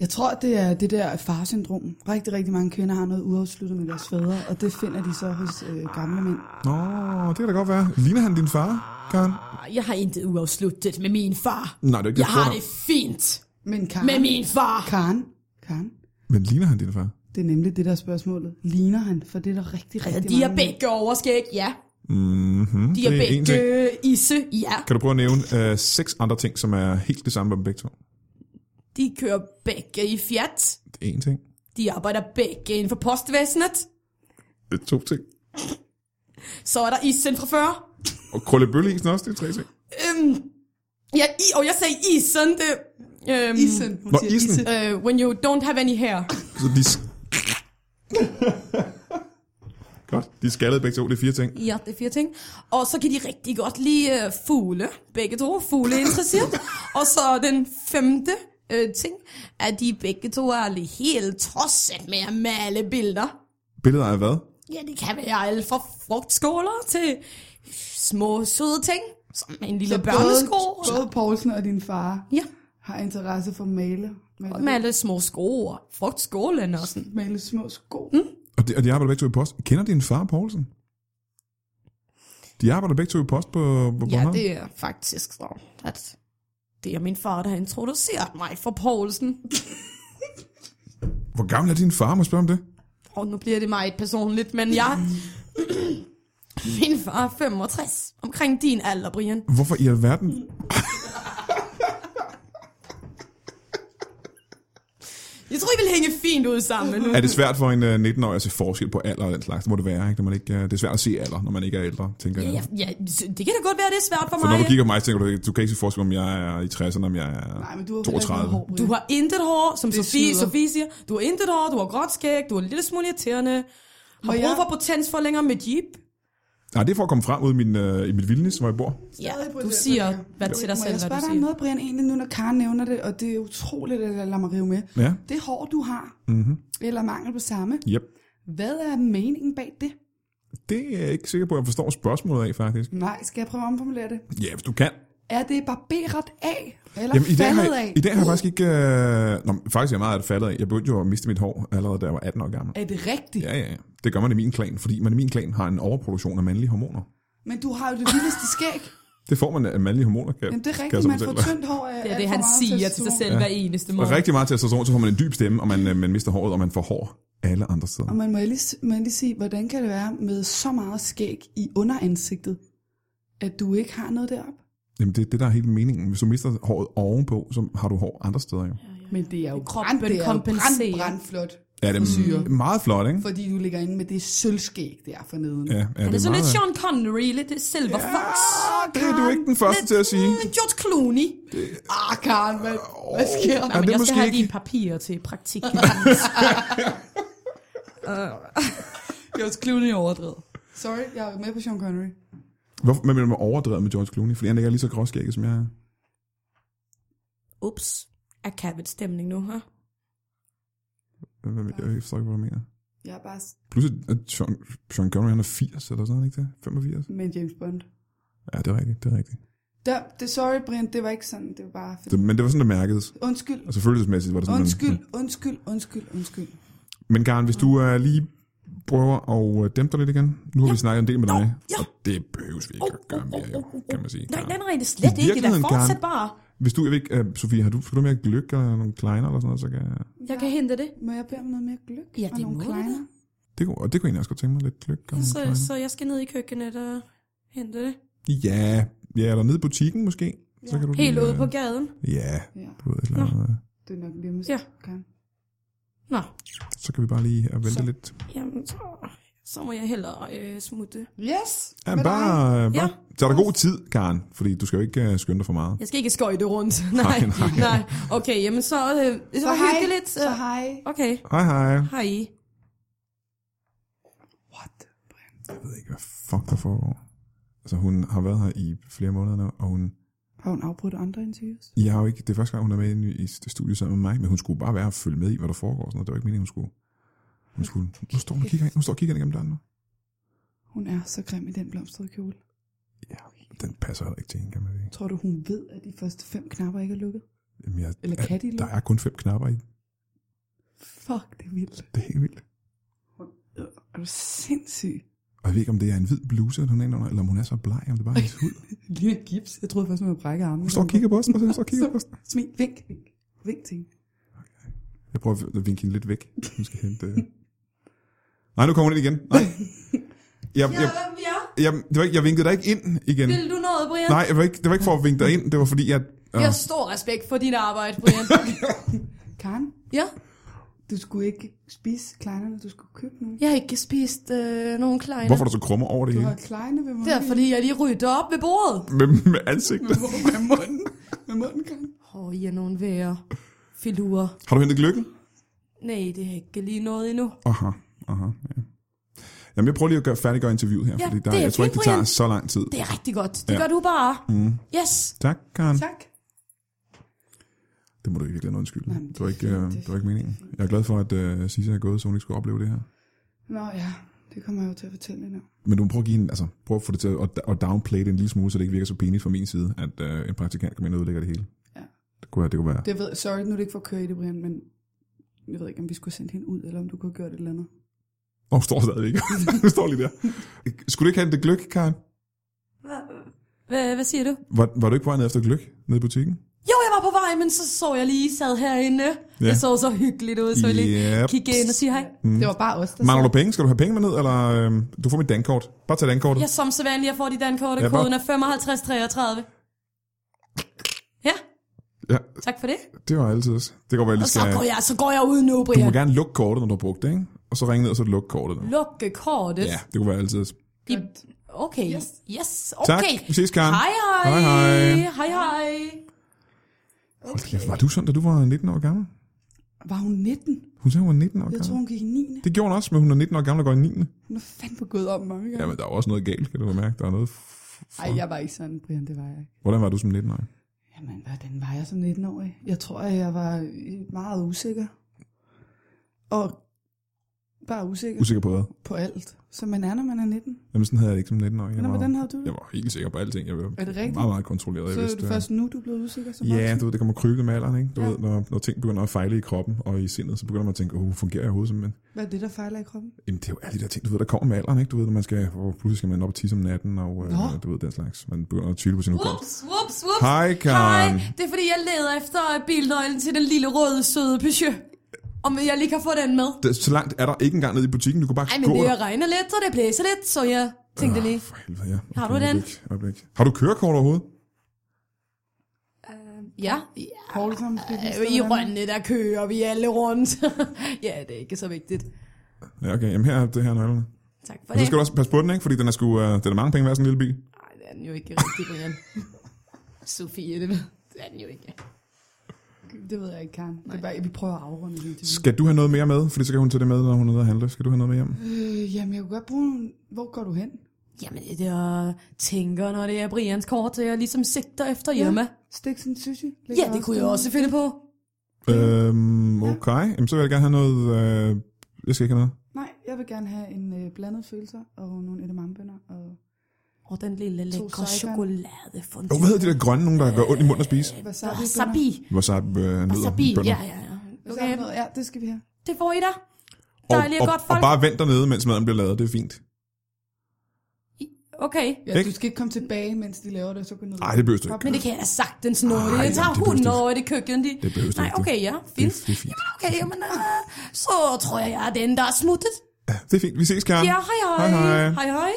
Jeg tror, det er det der farsyndrom. Rigtig, rigtig mange kvinder har noget uafsluttet med deres fædre, og det finder de så hos øh, gamle mænd. Nå, det kan da godt være. Ligner han din far, Karen? Og Jeg har intet uafsluttet med min far. Nej, det er ikke det, Jeg jeg spørger har det fint Men Karen, med min far. Karen, Karen, Men ligner han din far? det er nemlig det der er spørgsmålet. Ligner han? For det er der rigtig, rigtig De er mange begge overskæg, ja. Mm-hmm. De er begge isse, ja. Kan du prøve at nævne øh, seks andre ting, som er helt det samme med dem begge to? De kører begge i Fiat. Det er én ting. De arbejder begge inden for postvæsenet. Det er to ting. Så er der isen fra før. Og krøllebølleisen også, det er tre ting. Øhm, ja, i, og jeg sagde isen, det... Øhm, øh, Isen. Hun Nå, siger isen. isen. Uh, when you don't have any hair. Så de... s- Godt. De er skaldede begge to. Det er fire ting. Ja, det er fire ting. Og så kan de rigtig godt lide øh, fugle. Begge to fugle interesseret. og så den femte øh, ting, at de begge to er lige helt tosset med at male billeder. Billeder af hvad? Ja, det kan være alt fra frugtskåler til små søde ting, som en lille børnesko. både, både Poulsen og din far Ja, har interesse for male. Male, og med alle små sko og frugtskålen og sådan. male små sko. Mm. Og de, og de arbejder begge to i post. Kender din far, Poulsen? De arbejder begge to i post på, på Ja, Bornholm? det er faktisk så, at det er min far, der har introduceret mig for Poulsen. Hvor gammel er din far, må jeg spørge om det? Og nu bliver det meget personligt, men jeg... Min far er 65, omkring din alder, Brian. Hvorfor i alverden? Jeg tror, I vil hænge fint ud sammen nu. Er det svært for en øh, 19-årig at se forskel på alder og den slags? Det må det være, ikke? Når man ikke øh, det er svært at se alder, når man ikke er ældre, tænker jeg. Ja, ja, det kan da godt være, det er svært for For når mig. du kigger på mig, så tænker du, ikke, du kan ikke se forskel, om jeg er i 60'erne, om jeg er Nej, men du har 32. Du har intet hår, som Det Sofie, snyder. Sofie siger. Du har intet hår, du har gråt skæg, du er en lille smule irriterende. Har Må brug jeg- for potensforlænger med jeep. Nej, det er for at komme frem ud i min, øh, i mit vildnis, hvor jeg bor. Ja, du siger, hvad til dig Må selv, jeg spørge hvad du dig om siger. noget, Brian, egentlig nu, når Karen nævner det, og det er utroligt, at jeg lader mig rive med. Ja, Det hår, du har, mm-hmm. eller mangel på samme, yep. hvad er meningen bag det? Det er jeg ikke sikker på, at jeg forstår spørgsmålet af, faktisk. Nej, skal jeg prøve at omformulere det? Ja, hvis du kan. Er det barberet af, eller Jamen, i dag, har faldet jeg, af? i dag har jeg faktisk ikke... Øh... Nå, men faktisk er jeg meget af det faldet af. Jeg begyndte jo at miste mit hår allerede, da jeg var 18 år gammel. Er det rigtigt? Ja, ja, ja. Det gør man i min klan, fordi man i min klan har en overproduktion af mandlige hormoner. Men du har jo det vildeste skæg. Det får man af mandlige hormoner, kan, Jamen, det er kan jeg rigtigt, så man får fortælle dig. tyndt hår af Det er alt det, for han meget siger til sig testosteron. selv hver eneste Og morgen. rigtig meget testosteron, så får man en dyb stemme, og man, øh, man mister håret, og man får hår alle andre steder. Og man må jeg lige, må jeg lige sige, hvordan kan det være med så meget skæg i underansigtet, at du ikke har noget deroppe? Jamen, det er det, der er hele meningen. Hvis du mister håret ovenpå, så har du hår andre steder jo. Men det er jo Kroppen brand, det er jo brand, kompenserer. brandflot, Ja, det Frisyrer. er meget flot, ikke? fordi du ligger inde med det sølvskæg der forneden. Ja, ja, det er, Han er sådan lidt meget- Ah, Sean Connery, lidt det Silver Fox. Det er du ikke den første til at sige. Mm, George Clooney. Ah, Karen, hvad, hvad sker der? Nej, men det er jeg skal måske have ikke- dine papirer til praktik. Øh. George Clooney overdrevet. Sorry, jeg er med på Sean Connery. Hvorfor, men man er overdrevet med George Clooney, fordi han ikke er lige så gråskægget, som jeg er. Ups, er Kavits stemning nu, her? Hvad- hvad- Jeg forstår ikke, hvad du mener. Jeg er bare... s- Pludselig er Sean, Sean Connery, han er 80 eller sådan, ikke det? 85? Men James Bond. Ja, det er rigtigt, det er rigtigt. Der, det, sorry, Brian, det var ikke sådan, det var bare... Fordi... Det, men det var sådan, det mærkedes. Undskyld, Altså følelsesmæssigt var det sådan. men- undskyld, undskyld, undskyld, undskyld. Men Karen, hvis du uh, lige prøver at uh, dæmpe dig lidt igen. Nu har ja. vi snakket en del med dig, ja. og det behøves vi ikke at gøre mere, jo, kan man sige. Nej, Karen. den er rigtig slet ikke. Det er virkeligheden, fortsat Karen. bare. Hvis du, jeg ved ikke, uh, Sofie, har du, skal du mere gløk eller nogle kleiner eller sådan noget, så kan jeg... Jeg kan hente det. Må jeg bede om noget mere gløk? Ja, og det nogle må du da. kleiner? Det kunne, og det kunne jeg egentlig også godt tænke mig, lidt gløk og nogle Så, kleiner. så jeg skal ned i køkkenet og hente det. Ja, ja, eller nede i butikken måske. Så kan du Helt lige, ude øh, på gaden. Ja, Ja, du ved, et eller andet, øh, det er nok nemmest, Ja. Karen. Nå, så kan vi bare lige øh, vente Så. lidt. jamen så, så må jeg hellere øh, smutte. Yes! Ja, med bare, dig. øh, bare Ja. tag dig god tid, Karen, fordi du skal jo ikke uh, skynde dig for meget. Jeg skal ikke skøjte rundt. Nej, nej. nej. nej. Okay, jamen så, øh, så, Så hej, hyggeligt. så hej. Okay, Hej, hej. hej. What? Brian? Jeg ved ikke, hvad fuck der foregår. Altså, hun har været her i flere måneder nu, og hun... Har hun afbrudt andre interviews? Jeg har jo ikke, det er første gang, hun er med inde i i studiet sammen med mig, men hun skulle bare være og følge med i, hvad der foregår. og Sådan noget. Det var ikke meningen, hun skulle... Hun skulle nu står hun og kigger ind, hun står og kigger ind igennem døren nu. Hun er så grim i den blomstrede kjole. Ja, den passer heller ikke til hende, kan man sige. Tror du, hun ved, at de første fem knapper ikke er lukket? Jamen, jeg, Eller kan de der lukke? er kun fem knapper i. Fuck, det er vildt. Øh, Det er helt vildt. Er du sindssyg? Og jeg ved ikke, om det er en hvid bluse, at hun er inde under, eller om hun er så bleg, om det bare er hendes hud. Lige en gips. Jeg troede først, man havde brækket armen. Hun står og kigger på os, og så står og kigger på os. Smil, vink, vink. Vink til hende. Jeg prøver at vinke hende lidt væk. Hun skal hente... øh. Nej, nu kommer hun ind igen. Nej. Jeg, jeg, hvem vi er? jeg, det var ikke, jeg vinkede dig ikke ind igen. Vil du noget, Brian? Nej, jeg var ikke, det var ikke for at vinke dig ind. Det var fordi, jeg... Jeg Uh, har stor respekt for dit arbejde, Brian. Karen, ja. du skulle ikke spise kleinerne, du skulle købe nogle. Jeg har ikke spist øh, nogen kleiner. hvorfor er du så krummer over det Du hele? har kleine ved munden. Det er fordi, jeg lige rydder op ved bordet. Med, med ansigtet. Med munden. Med munden, Karen. Åh, oh, I er nogle værre filurer. Har du hentet lykken? Nej, det er ikke lige noget endnu. Aha, aha, ja. Jamen, jeg prøver lige at gøre, færdiggøre interviewet her, ja, Ja, fordi der, det er jeg tror ikke, det fint, tager Brian. så lang tid. Det er rigtig godt. Det Ja. ja. gør du bare. Mm. Yes. Tak, Karen. Tak. Det må du virkelig undskylde. Nej, men det, det var er ikke, fint, øh, det er det var ikke fint, meningen. det er fint. Jeg er glad for, at øh, Sisa er gået, så hun ikke skulle opleve det her. Nå ja, det kommer jeg jo til at fortælle hende om. Men du må prøve at, give en, altså, prøve at få det til at, at downplay det en lille smule, så det ikke virker så pinligt fra min side, at øh, en praktikant kommer ind og ødelægger det hele. Ja. Det kunne, være- det kunne være. Det ved, sorry, nu er det ikke for at køre i det, Brian, men jeg ved ikke, om vi skulle sende hende ud, eller om du kunne have gjort et eller andet. Nå, hun står stadig ikke. hun står lige der. Skulle du ikke have det gløk, Karen? Hvad, hvad siger du? Var, var du ikke på vej ned efter gløk nede i butikken? Jo, jeg var på vej, men så så jeg lige, I sad herinde. Ja. Ja. Det så så hyggeligt ud, så jeg lige Yep. kiggede ind og sige hej. Mm. Det var bare os, der Mangler sad. du penge? Skal du have penge med ned? Eller, øhm, du får mit dankort. Bare tag dankortet. Jeg som så vanlig, jeg får de dankort, og Ja, hvor- koden er 5533. Ja, Ja, tak for det. det var altid også. Det går være, jeg Og lige så skal... går jeg, så går jeg ud nu, Du må Brian. gerne lukke kortet, når du har brugt det, ikke? Og så ringe ned, og så lukke kortet. Nu. Lukke kortet. Ja, det kunne være altid. Godt. Okay, Yes. yes, yes. Tak. okay. Vi ses, Karen. Hej, hej. Hej, hej. Hej, hej. Hold kæft, var du sådan, da du var 19 år gammel? Var hun 19? Hun sagde, hun var 19 år Jeg gammel. tror, hun gik i 9. Det gjorde hun også, men hun er 19 år gammel og går i 9. Hun er fandme gået om mange gange. Jamen, der er jo også noget galt, kan du da mærke. Der er noget... f- f- Ej, jeg var ikke sådan, Brian, det var jeg ikke. Hvordan var du som 19-årig? Jamen, hvordan var jeg som 19-årig? Jeg tror, at jeg var øh, meget usikker. Og bare usikker Usikker på hvad? på alt, som man er, når man er 19. Jamen, sådan havde jeg det ikke som 19-årig. Jeg Nå, var, hvordan havde du det? jeg var helt sikker på alting. Jeg var Er det rigtigt? meget, meget kontrolleret. Jeg Så er vidste, det først nu, du er blevet usikker som Ja, voksen? du ved, det kommer krybende med alderen, ikke? Du ja. Ja. ved, når, når ting begynder at fejle i kroppen og i sindet, så begynder man at tænke, åh, fungerer jeg overhovedet som mand? Hvad er det, der fejler i kroppen? Jamen, det er jo alle de der ting, du ved, der kommer med alderen, ikke? Du ved, når man skal, åh, pludselig skal man op og tisse om natten, og Nå. øh, du ved, den slags. Man begynder at tvivle på sin hukommelse. Whoops, whoops, whoops. Hej, Karen. Hej. Det er fordi, jeg leder efter bilnøglen til den lille røde, søde Peugeot. Om jeg lige kan få den med. Det- Så langt er der ikke engang nede i butikken, du kan bare Ej, gå men det der. Ah, jeg regner lidt, og det blæser lidt, så jeg tænkte lige. For helvede, ja. Har du Øjeblik, den? Øjeblik. Har du kørekort overhovedet? Ja, Poul, kom, skal vi ja. øh, vise dig, i hvordan- Rønne, der kører vi alle rundt. ja, det er ikke så vigtigt. Ja, okay. Jamen, her er det her er nøglerne. Tak for Og så det. skal du også passe på den, ikke? Fordi den er, sgu, uh, den er mange penge værd, sådan en lille bil. Nej, det er den jo ikke rigtig, Brian. Sofie, det, det er den jo ikke. Det ved jeg ikke, Karen. Det er bare, vi prøver at afrunde det. indtil videre. Skal du have noget mere med? Fordi så kan hun tage det med, når hun er nede og handle. Skal du have noget med hjem? Mm. Øh, jamen, jeg kunne godt bruge en... Hvor går du hen? Jamen, det jeg tænker, når det er Brians kort, så jeg ligesom sigter efter hjemme. Stik sådan en sushi. Ja, det kunne jeg også finde på. Øhm, okay. Jamen, så vil jeg gerne have noget... Øh, jeg skal ikke have noget. Nej, jeg vil gerne have en øh, blandet følelser og nogle edamamebønner. Og... Og den lille lækre saigon. chokolade Oh, hvad hedder de der grønne nogen, der gør ondt i munden at spise? Wasabi. Wasabi. Wasabi øh, nødder. Wasabi, bønner. ja, ja, ja. Okay. Okay, Ja, det skal vi have. det får I da. Og, Dejligt og, og, godt og, folk. bare vent dernede, mens maden bliver lavet. Det er fint. Okay. Ja, Ikke? du skal ikke komme tilbage, mens de laver det, så gå ned. Nej, det behøver du ikke. Men det kan jeg da sagtens nå. Ej, Ej, det tager det behøver 100 du år i det køkken. De... Det behøver du Nej, ikke. okay, ja. Det, Fint. er- det er fint. Okay, jamen, øh, så tror jeg, jeg er den, der er smuttet. Ja, det er fint. Vi ses, Karen. Ja, hej hej. Hej, hej. Hej hej.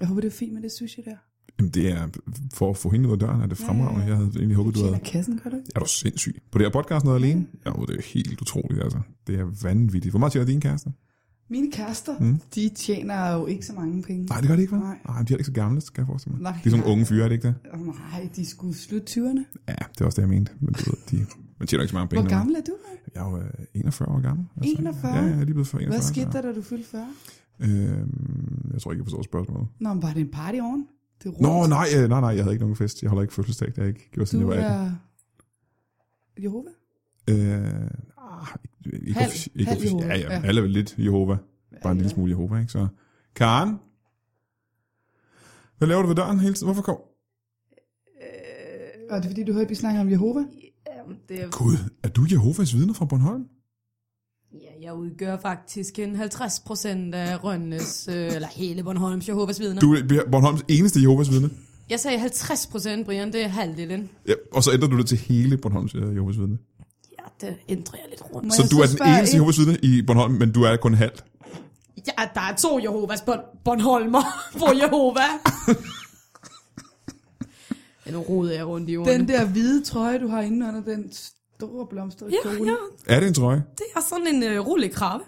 Jeg håber, det er fint med det sushi der. Jamen, det er for at få hende ud af døren, er det fremragende. Jeg havde egentlig håbet, du havde... Tjener kassen, gør du ikke? Er du sindssyg? På det her podcast noget alene? Ja, det er jo helt utroligt, altså. Det er vanvittigt. Hvor meget tjener din kæreste? Mine kærester, mm. de tjener jo ikke så mange penge. Nej, det gør det ikke, hva'? Nej, Nej. de er heller ikke så gamle, skal jeg forestille mig. Nej. De er sådan unge fyre, er det ikke det? Oh, nej, de skulle slutte 20'erne. Ja, det er også det, jeg mente. Men du ved, de, man tjener ikke så mange penge. Hvor når man- gammel er du? Jeg er jo øh, 41 år gammel. Altså. 41? Ja, ja, jeg er lige blevet for 41. Hvad skete så- der, da du fyldte 40? Øhm, jeg tror ikke, jeg forstår spørgsmålet. Nå, men var det en party oven? Det er Nå, rundt. nej, øh, nej, nej, jeg havde ikke nogen fest. Jeg holder ikke fødselsdag. Det har jeg ikke gjort, siden du jeg var 18. er... Jehova? Øh, ah, ikke, ikke, Halv- offici- ikke halv offici- Jehova, Ja, ja, ja. alle er vel lidt Jehova. Bare en lille smule Jehova, ikke? Så, Karen? Hvad laver du ved døren hele tiden? Hvorfor kom... Var det fordi, du hørte, vi snakker om Jehova? Det er, Gud, er du Jehovas vidner fra Bornholm? ja, jeg udgør faktisk en 50 procent af Rønnes, øh, eller hele Bornholms Jehovas vidner. Du er Bornholms eneste Jehovas vidne. Jeg sagde 50 procent, Brian, det er halvdelen. Ja, og så ændrer du det til hele Bornholms øh, Jehovas vidne. Ja, det ændrer jeg lidt rundt. Må Så jeg du er den spørge eneste ind- Jehovas vidne i Bornholm, men du er kun halvt. Ja, der er to Jehovas bon- Bornholmer på Jehova. ja, nu roder jeg rundt i ordene. Den der hvide trøje, du har inde under den store blomstrede ja, kjole. ja, Er det en trøje? det er sådan en øh, rullekrabbe.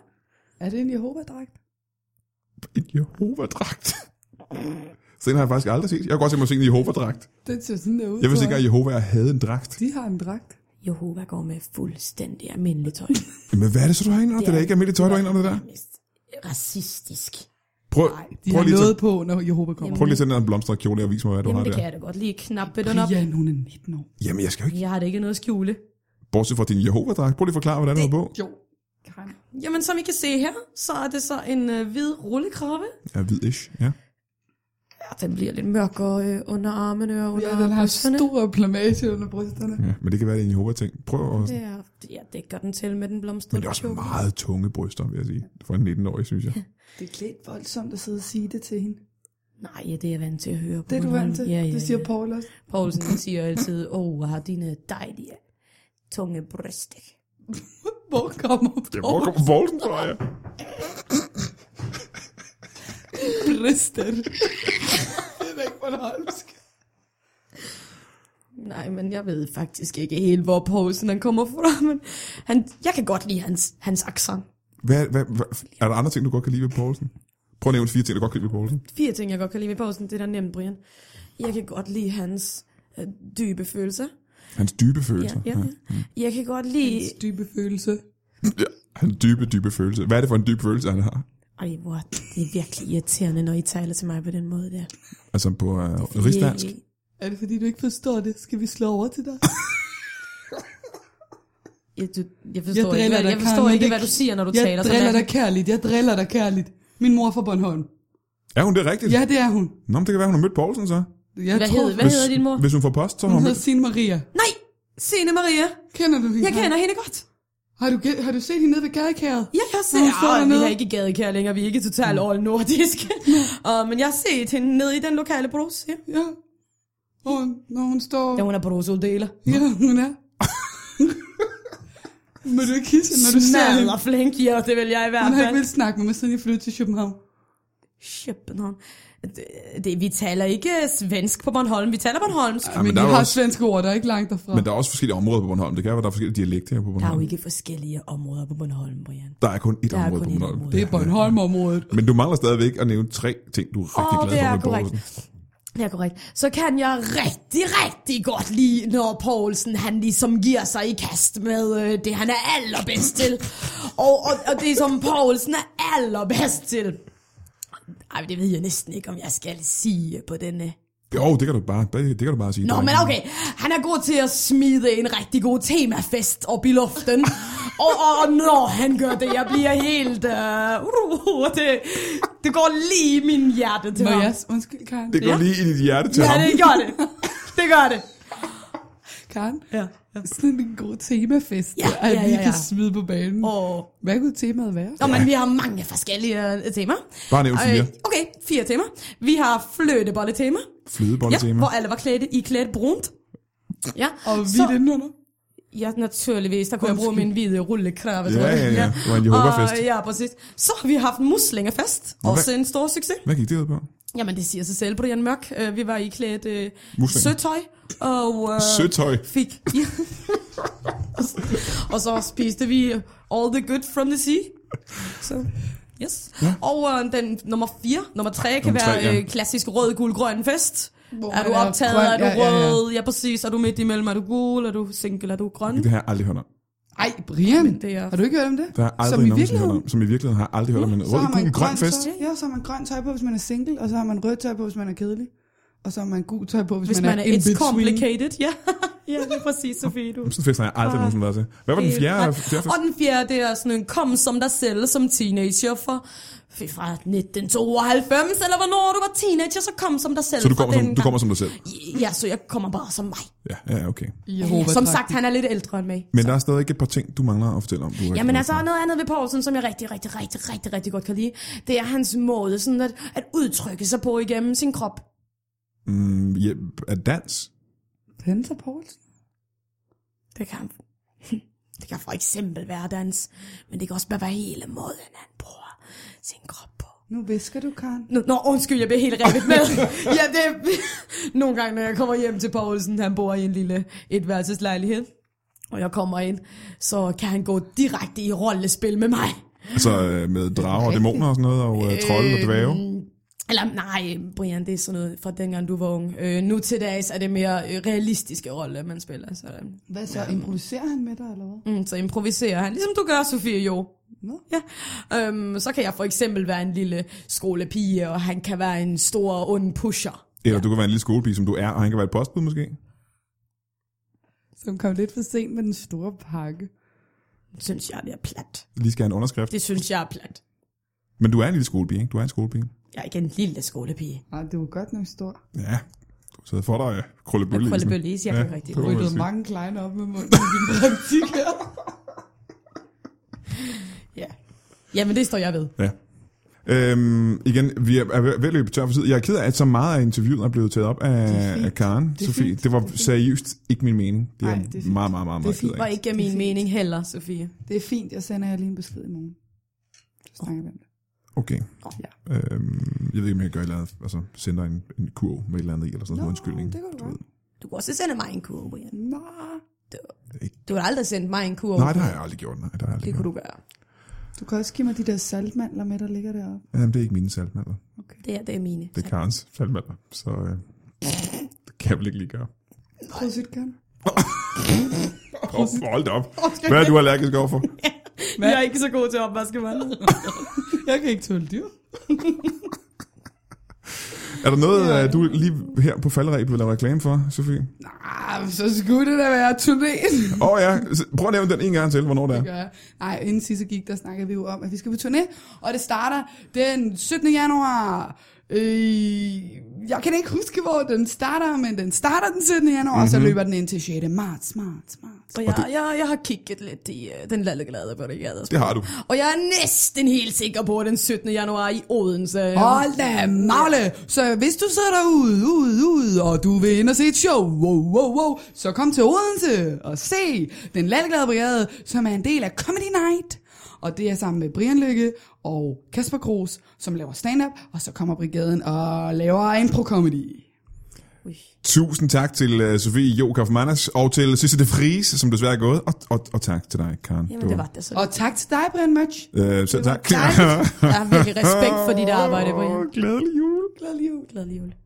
Er det en Jehova-dragt? En Jehova-dragt. Så den har jeg faktisk aldrig set. Jeg kunne godt tænke mig at se en Jehova-dragt. Den ser sådan der ud. Jeg vidste tror ikke, at Jehova havde en dragt. De har en dragt. Jehova går med fuldstændig almindelig tøj. Men hvad er det så, du har inde under? Det er da ikke almindeligt tøj, du har inde under der. racistisk. Prøv, Nej, de prøv, har lige, at noget tage- på, når Jehova kommer. prøv lige at sende dig en blomstret kjole og vis mig, hvad du Jamen, har det der. kan jeg da godt lige knappe den op. Brian, hun er 19 år. Jamen, jeg skal jo ikke... Jeg har da ikke noget at skjule. Bortset fra din Jehova-dragt. Prøv lige at forklare, hvordan du har på. Jo, Karen. Jamen, som I kan se her, så er det så en øh, hvid rullekrappe. Ja, hvid-ish. Ja. Ja, den bliver lidt mørkere øh, under armene og under Ja, den har brysterne. stor plamage under brysterne. ja. men det kan være, det er en Jehova-ting. Prøv at... Det er, ja, det gør den til med den blomstrede Men det er også kjole. meget tunge bryster, vil jeg sige. For en 19-årig, synes jeg. Det er lidt voldsomt at sidde og sige det til hende. Nej, ja, det er jeg vant til at høre på. Det er du Bornholm. vant til. Ja, ja, Det siger ja. Paul også. Poulsen han siger altid, åh, oh, har dine dejlige tunge bryster. Hvor kommer Det Paul? kommer Poulsen fra, ja. Brister. det er da ikke Bornholmsk. Nej, men jeg ved faktisk ikke helt, hvor Poulsen han kommer fra, men han, jeg kan godt lide hans, hans accent. Hvad, hvad, hvad, er der andre ting, du godt kan lide ved Poulsen? Prøv at nævne fire ting, du godt kan lide ved Poulsen. Fire ting, jeg godt kan lide ved Poulsen, det er da nemt, Brian. Jeg kan godt lide hans øh, dybe følelser. Hans dybe Ja, følelser. ja, ja. Jeg kan godt lide... Dybe følelse. ja. Hans dybe, dybe følelse. Hvad er det for en dyb følelse, han har? Ej, hvor det er virkelig irriterende, når I taler til mig på den måde der. Altså på uh, rigsdansk. Er det fordi, du ikke forstår det? Skal vi slå over til dig? Jeg, du, jeg forstår, jeg driller ikke, hvad, dig, jeg forstår Karen, ikke, det- hvad du siger, når du Jeg taler driller sådan. dig kærligt. Jeg driller dig kærligt. Min mor er fra Bornholm. Er hun det rigtigt? Ja, det er hun. Nå, men det kan være, hun har mødt Poulsen så. Jeg Hvad tror, hedder, hvad hedder din mor? Hvis hun får post, så har Hun hun hedder mødt... Signe Maria. Nej! Signe Maria! Kender du hende? Jeg kender hende godt. Har du, har du set hende nede ved gadekæret? Jeg kan også se, Nå, hun står at vi dernede. er ikke gadekær længere, vi er ikke totalt all nordiske. Og, men jeg har set hende nede i den lokale brus. Ja, Ja. Hun, når hun står... ja hun er brusuddeler. Ja, hun er. Må du ikke hisse, når du ser hende? Smadret og flink, ja, det vil jeg i Hun hvert har ikke fald. vildt snakke med mig, siden jeg flyttede til København. København. Det, det, vi taler ikke svensk på Bornholm, vi taler Bornholmsk. men men der vi er jo har også- svenske ord, der er ikke langt derfra. Men der er også forskellige områder på Bornholm. Det kan være, der er forskellige dialekter her på Der er jo Bornholm. ikke forskellige områder på Bornholm, Brian. Der er kun ét Der er område kun på ét Bornholm. område. Det er Bornholm-området. Men du mangler stadigvæk at nævne tre ting, du er rigtig Åh, glad det for er ved korrekt. Poulsen. Det er korrekt. Så kan jeg rigtig, rigtig godt lide, når Poulsen han ligesom giver sig i kast med øh, det, han er allerbedst til. Og, og, og det, som Poulsen er allerbedst til. Ej, det ved jeg næsten ikke, om jeg skal sige på denne. Jo, det kan du bare, det, det kan du bare sige. Nå, Der er men ikke- okay. Han er god til at smide en rigtig god temafest op i luften. og, og, og når han gør det, jeg bliver helt... Øh, uh, uh, det, det går lige i min hjerte til Må ham. jeg... Undskyld, Karen. Det går Ja. lige i dit hjerte til Ja, ham. det gør det. Det gør det. Karen, Ja, ja. sådan en god temafest, Ja, at ja, vi ja, kan ja. smide på banen. Og, Hvad kunne temaet være? og men vi har mange forskellige øh, temaer. Bare nævn fire. Øh, okay, fire temaer. Vi har fløtebolle-tema. Ja, Flødebolle-tema. hvor alle var klædt i klædt brunt. Ja, Og vi er så, indenunder. ja, naturligvis, der kunne jeg bruge min hvide rullekrave, Ja, tror jeg. ja, ja. Det var en Jehova-fest. Og, ja, præcis. Så har vi haft muslingefest, Nå, også hvad- en stor succes. Hvad gik det ud på? Øh. Jamen, det siger sig selv, Brian Mørk. Øh, Vi var i klædt øh, Muslinger. søtøj, og... Øh, Søtøj. Fik. Ja. og så spiste vi all the good from the sea. Så, yes. Ja. Og øh, den nummer 4, nummer 3 kan Nummer tre, være ja. øh, klassisk rød, gul, grøn fest. Hvor er du man er optaget? grøn, er du ja, ja, ja. rød? Ja, præcis. Er du midt imellem? Er du gul? Er du single? Er du grøn? Det har jeg aldrig hørt om. Ej, Brian, det er- har du ikke hørt om det? Der har jeg Som aldrig nogensinde i hørt virkeligheden. om. Som i virkeligheden har jeg aldrig hørt om en Så rød, har man gul, grøn fest. Tøj, ja, så har man grønt tøj på, hvis man er single, og så har man rødt tøj på, hvis man er kedelig. Og så har man gul tøj på, hvis, Hvis man er in it's between. complicated. Ja, ja det er præcis, Sofie. Du. Sådan en fest har jeg aldrig Ah. nogensinde været til. Hvad var den fjerde? Nej. fjerde fest? Og den fjerde, det er sådan en kom som dig selv som teenager for fy, fra 1992, eller hvornår du var teenager, så kom som dig selv Så du fra kommer, som, dengang. du kommer som dig selv? Ja, så jeg kommer bare som mig. Ja, ja, okay. Jehova, som tak. sagt, han er lidt ældre end mig. Men der er stadig ikke et par ting, du mangler at fortælle om. Du er rigtig Jamen glad altså, for. noget andet ved Poulsen, som jeg rigtig, rigtig, rigtig, rigtig, rigtig godt kan lide, det er hans måde sådan at, at udtrykke sig på igennem sin krop. Mm, ja, at dans? Panser Poulsen? Det kan, det kan for eksempel være dans, men det kan også bare være hele måden, han bruger sin krop på. Nu visker du, Karen. Nå, nå, undskyld, jeg blev helt revet med. ja, det, nogle gange, når jeg kommer hjem til Poulsen, han bor i en lille etværelseslejlighed, og jeg kommer ind, så kan han gå direkte i rollespil med mig. Altså øh, med drager og dæmoner og sådan noget, og øh, trolde og dvæve? Eller nej, Brian, det er sådan noget fra dengang du var ung. Øh, nu til dags er det mere øh, realistiske rolle, man spiller. Så, øh, Hvad så? Improviserer han med dig, eller hvad? mm, så improviserer han, ligesom du gør, Sofie, jo. Nå. Øhm, så kan jeg for eksempel være en lille skolepige, og han kan være en stor, ond pusher. Eller du kan være en lille skolepige, som du er, og han kan være et postbud måske. Som kom lidt for sent med den store pakke. Synes jeg, det er plat. Lige skal have en underskrift. Det synes jeg er plat. Men du er en lille skolepige, ikke? Du er en skolepige. Jeg er ikke en lille skolepige. Nej, det var godt nok stor. Ja, du sidder for dig, øh, krøllebølle. Prøv lige at jeg Ja, kan rigtig det var- Ryddede sige. mange kleiner op med munden i din praktik her. Ja. Jamen, det står jeg ved. Ja. Øhm, igen, vi er, er ved ved at løbe tør for tid. Jeg er ked af, at så meget af interviewet er blevet taget op Det er af, fint. af Karen. Det er Sofie. fint. Det var Det er fint. seriøst ikke min mening. Det er, Nej, jeg det er fint. meget, meget, meget, Det er meget ked fint. Var af. ikke af min fint. mening heller, Sofie. Det er fint, jeg sender jer lige en besked i morgen. Så snakker vi om det. Okay. Ja. Øhm, jeg ved ikke, om jeg gør et eller andet, altså sender en, en kurv med et eller andet i, eller sådan noget undskyldning. det kan du ved. godt. Du kan også sende mig en kurve, Brian. Nå, Du har aldrig sendt mig en kurve. Nej, det har jeg aldrig gjort. Nej, det har jeg aldrig Det gjort. kunne du gøre. du kan også give mig de der saltmandler med, der ligger deroppe. Jamen, det er ikke mine saltmaller. Det er, det er mine. Det er Karens saltmaller. Så øh, det kan jeg vel ikke lige gøre. Prositkan. Oh, hold da op. Hvad er du allergisk overfor? Men jeg er ikke så god til at opvaske mig. Jeg kan ikke tåle dyr. Er der noget, øh, du lige her på faldrebet vil lave reklame for, Sofie? Nej, så skulle det da være turnéen. Åh oh, ja, S- prøv at nævne den en gang til, hvornår det er. Det gør jeg. Nej, inden sidste gik, der snakkede vi jo om, at vi skal på turné, og det starter den 17. januar. Øh, jeg kan ikke huske, hvor den starter, men den starter den 17. januar, mm-hmm. og så løber den ind til 6. marts, marts, marts. Og jeg, jeg, jeg har kigget lidt i uh, den lalleglade på det gade. Det har du. Og jeg er næsten helt sikker på at den 17. januar i Odense. Hold da magle! Så hvis du sidder derude, ude, ude, og du vil ind og se et show, wow, wow, wow, så kom til Odense og se Den Lalleglade Brigade, som er en del af Comedy Night. Og det er sammen med Brian Lykke og Kasper Gros, som laver stand-up, og så kommer brigaden og laver impro-comedy. Ui. Tusind tak til uh, Sofie Jo Kaufmannas, og til Sisse de Vries, som desværre er gået, og, og, og tak til dig, Karen. Jamen, det var det så. Og tak til dig, Brian Mørch. Øh, selv tak. dejligt. Jeg har virkelig respekt for dit arbejde, Brian. Åh, Glædelig jul. Glædelig jul. Glædelig jul.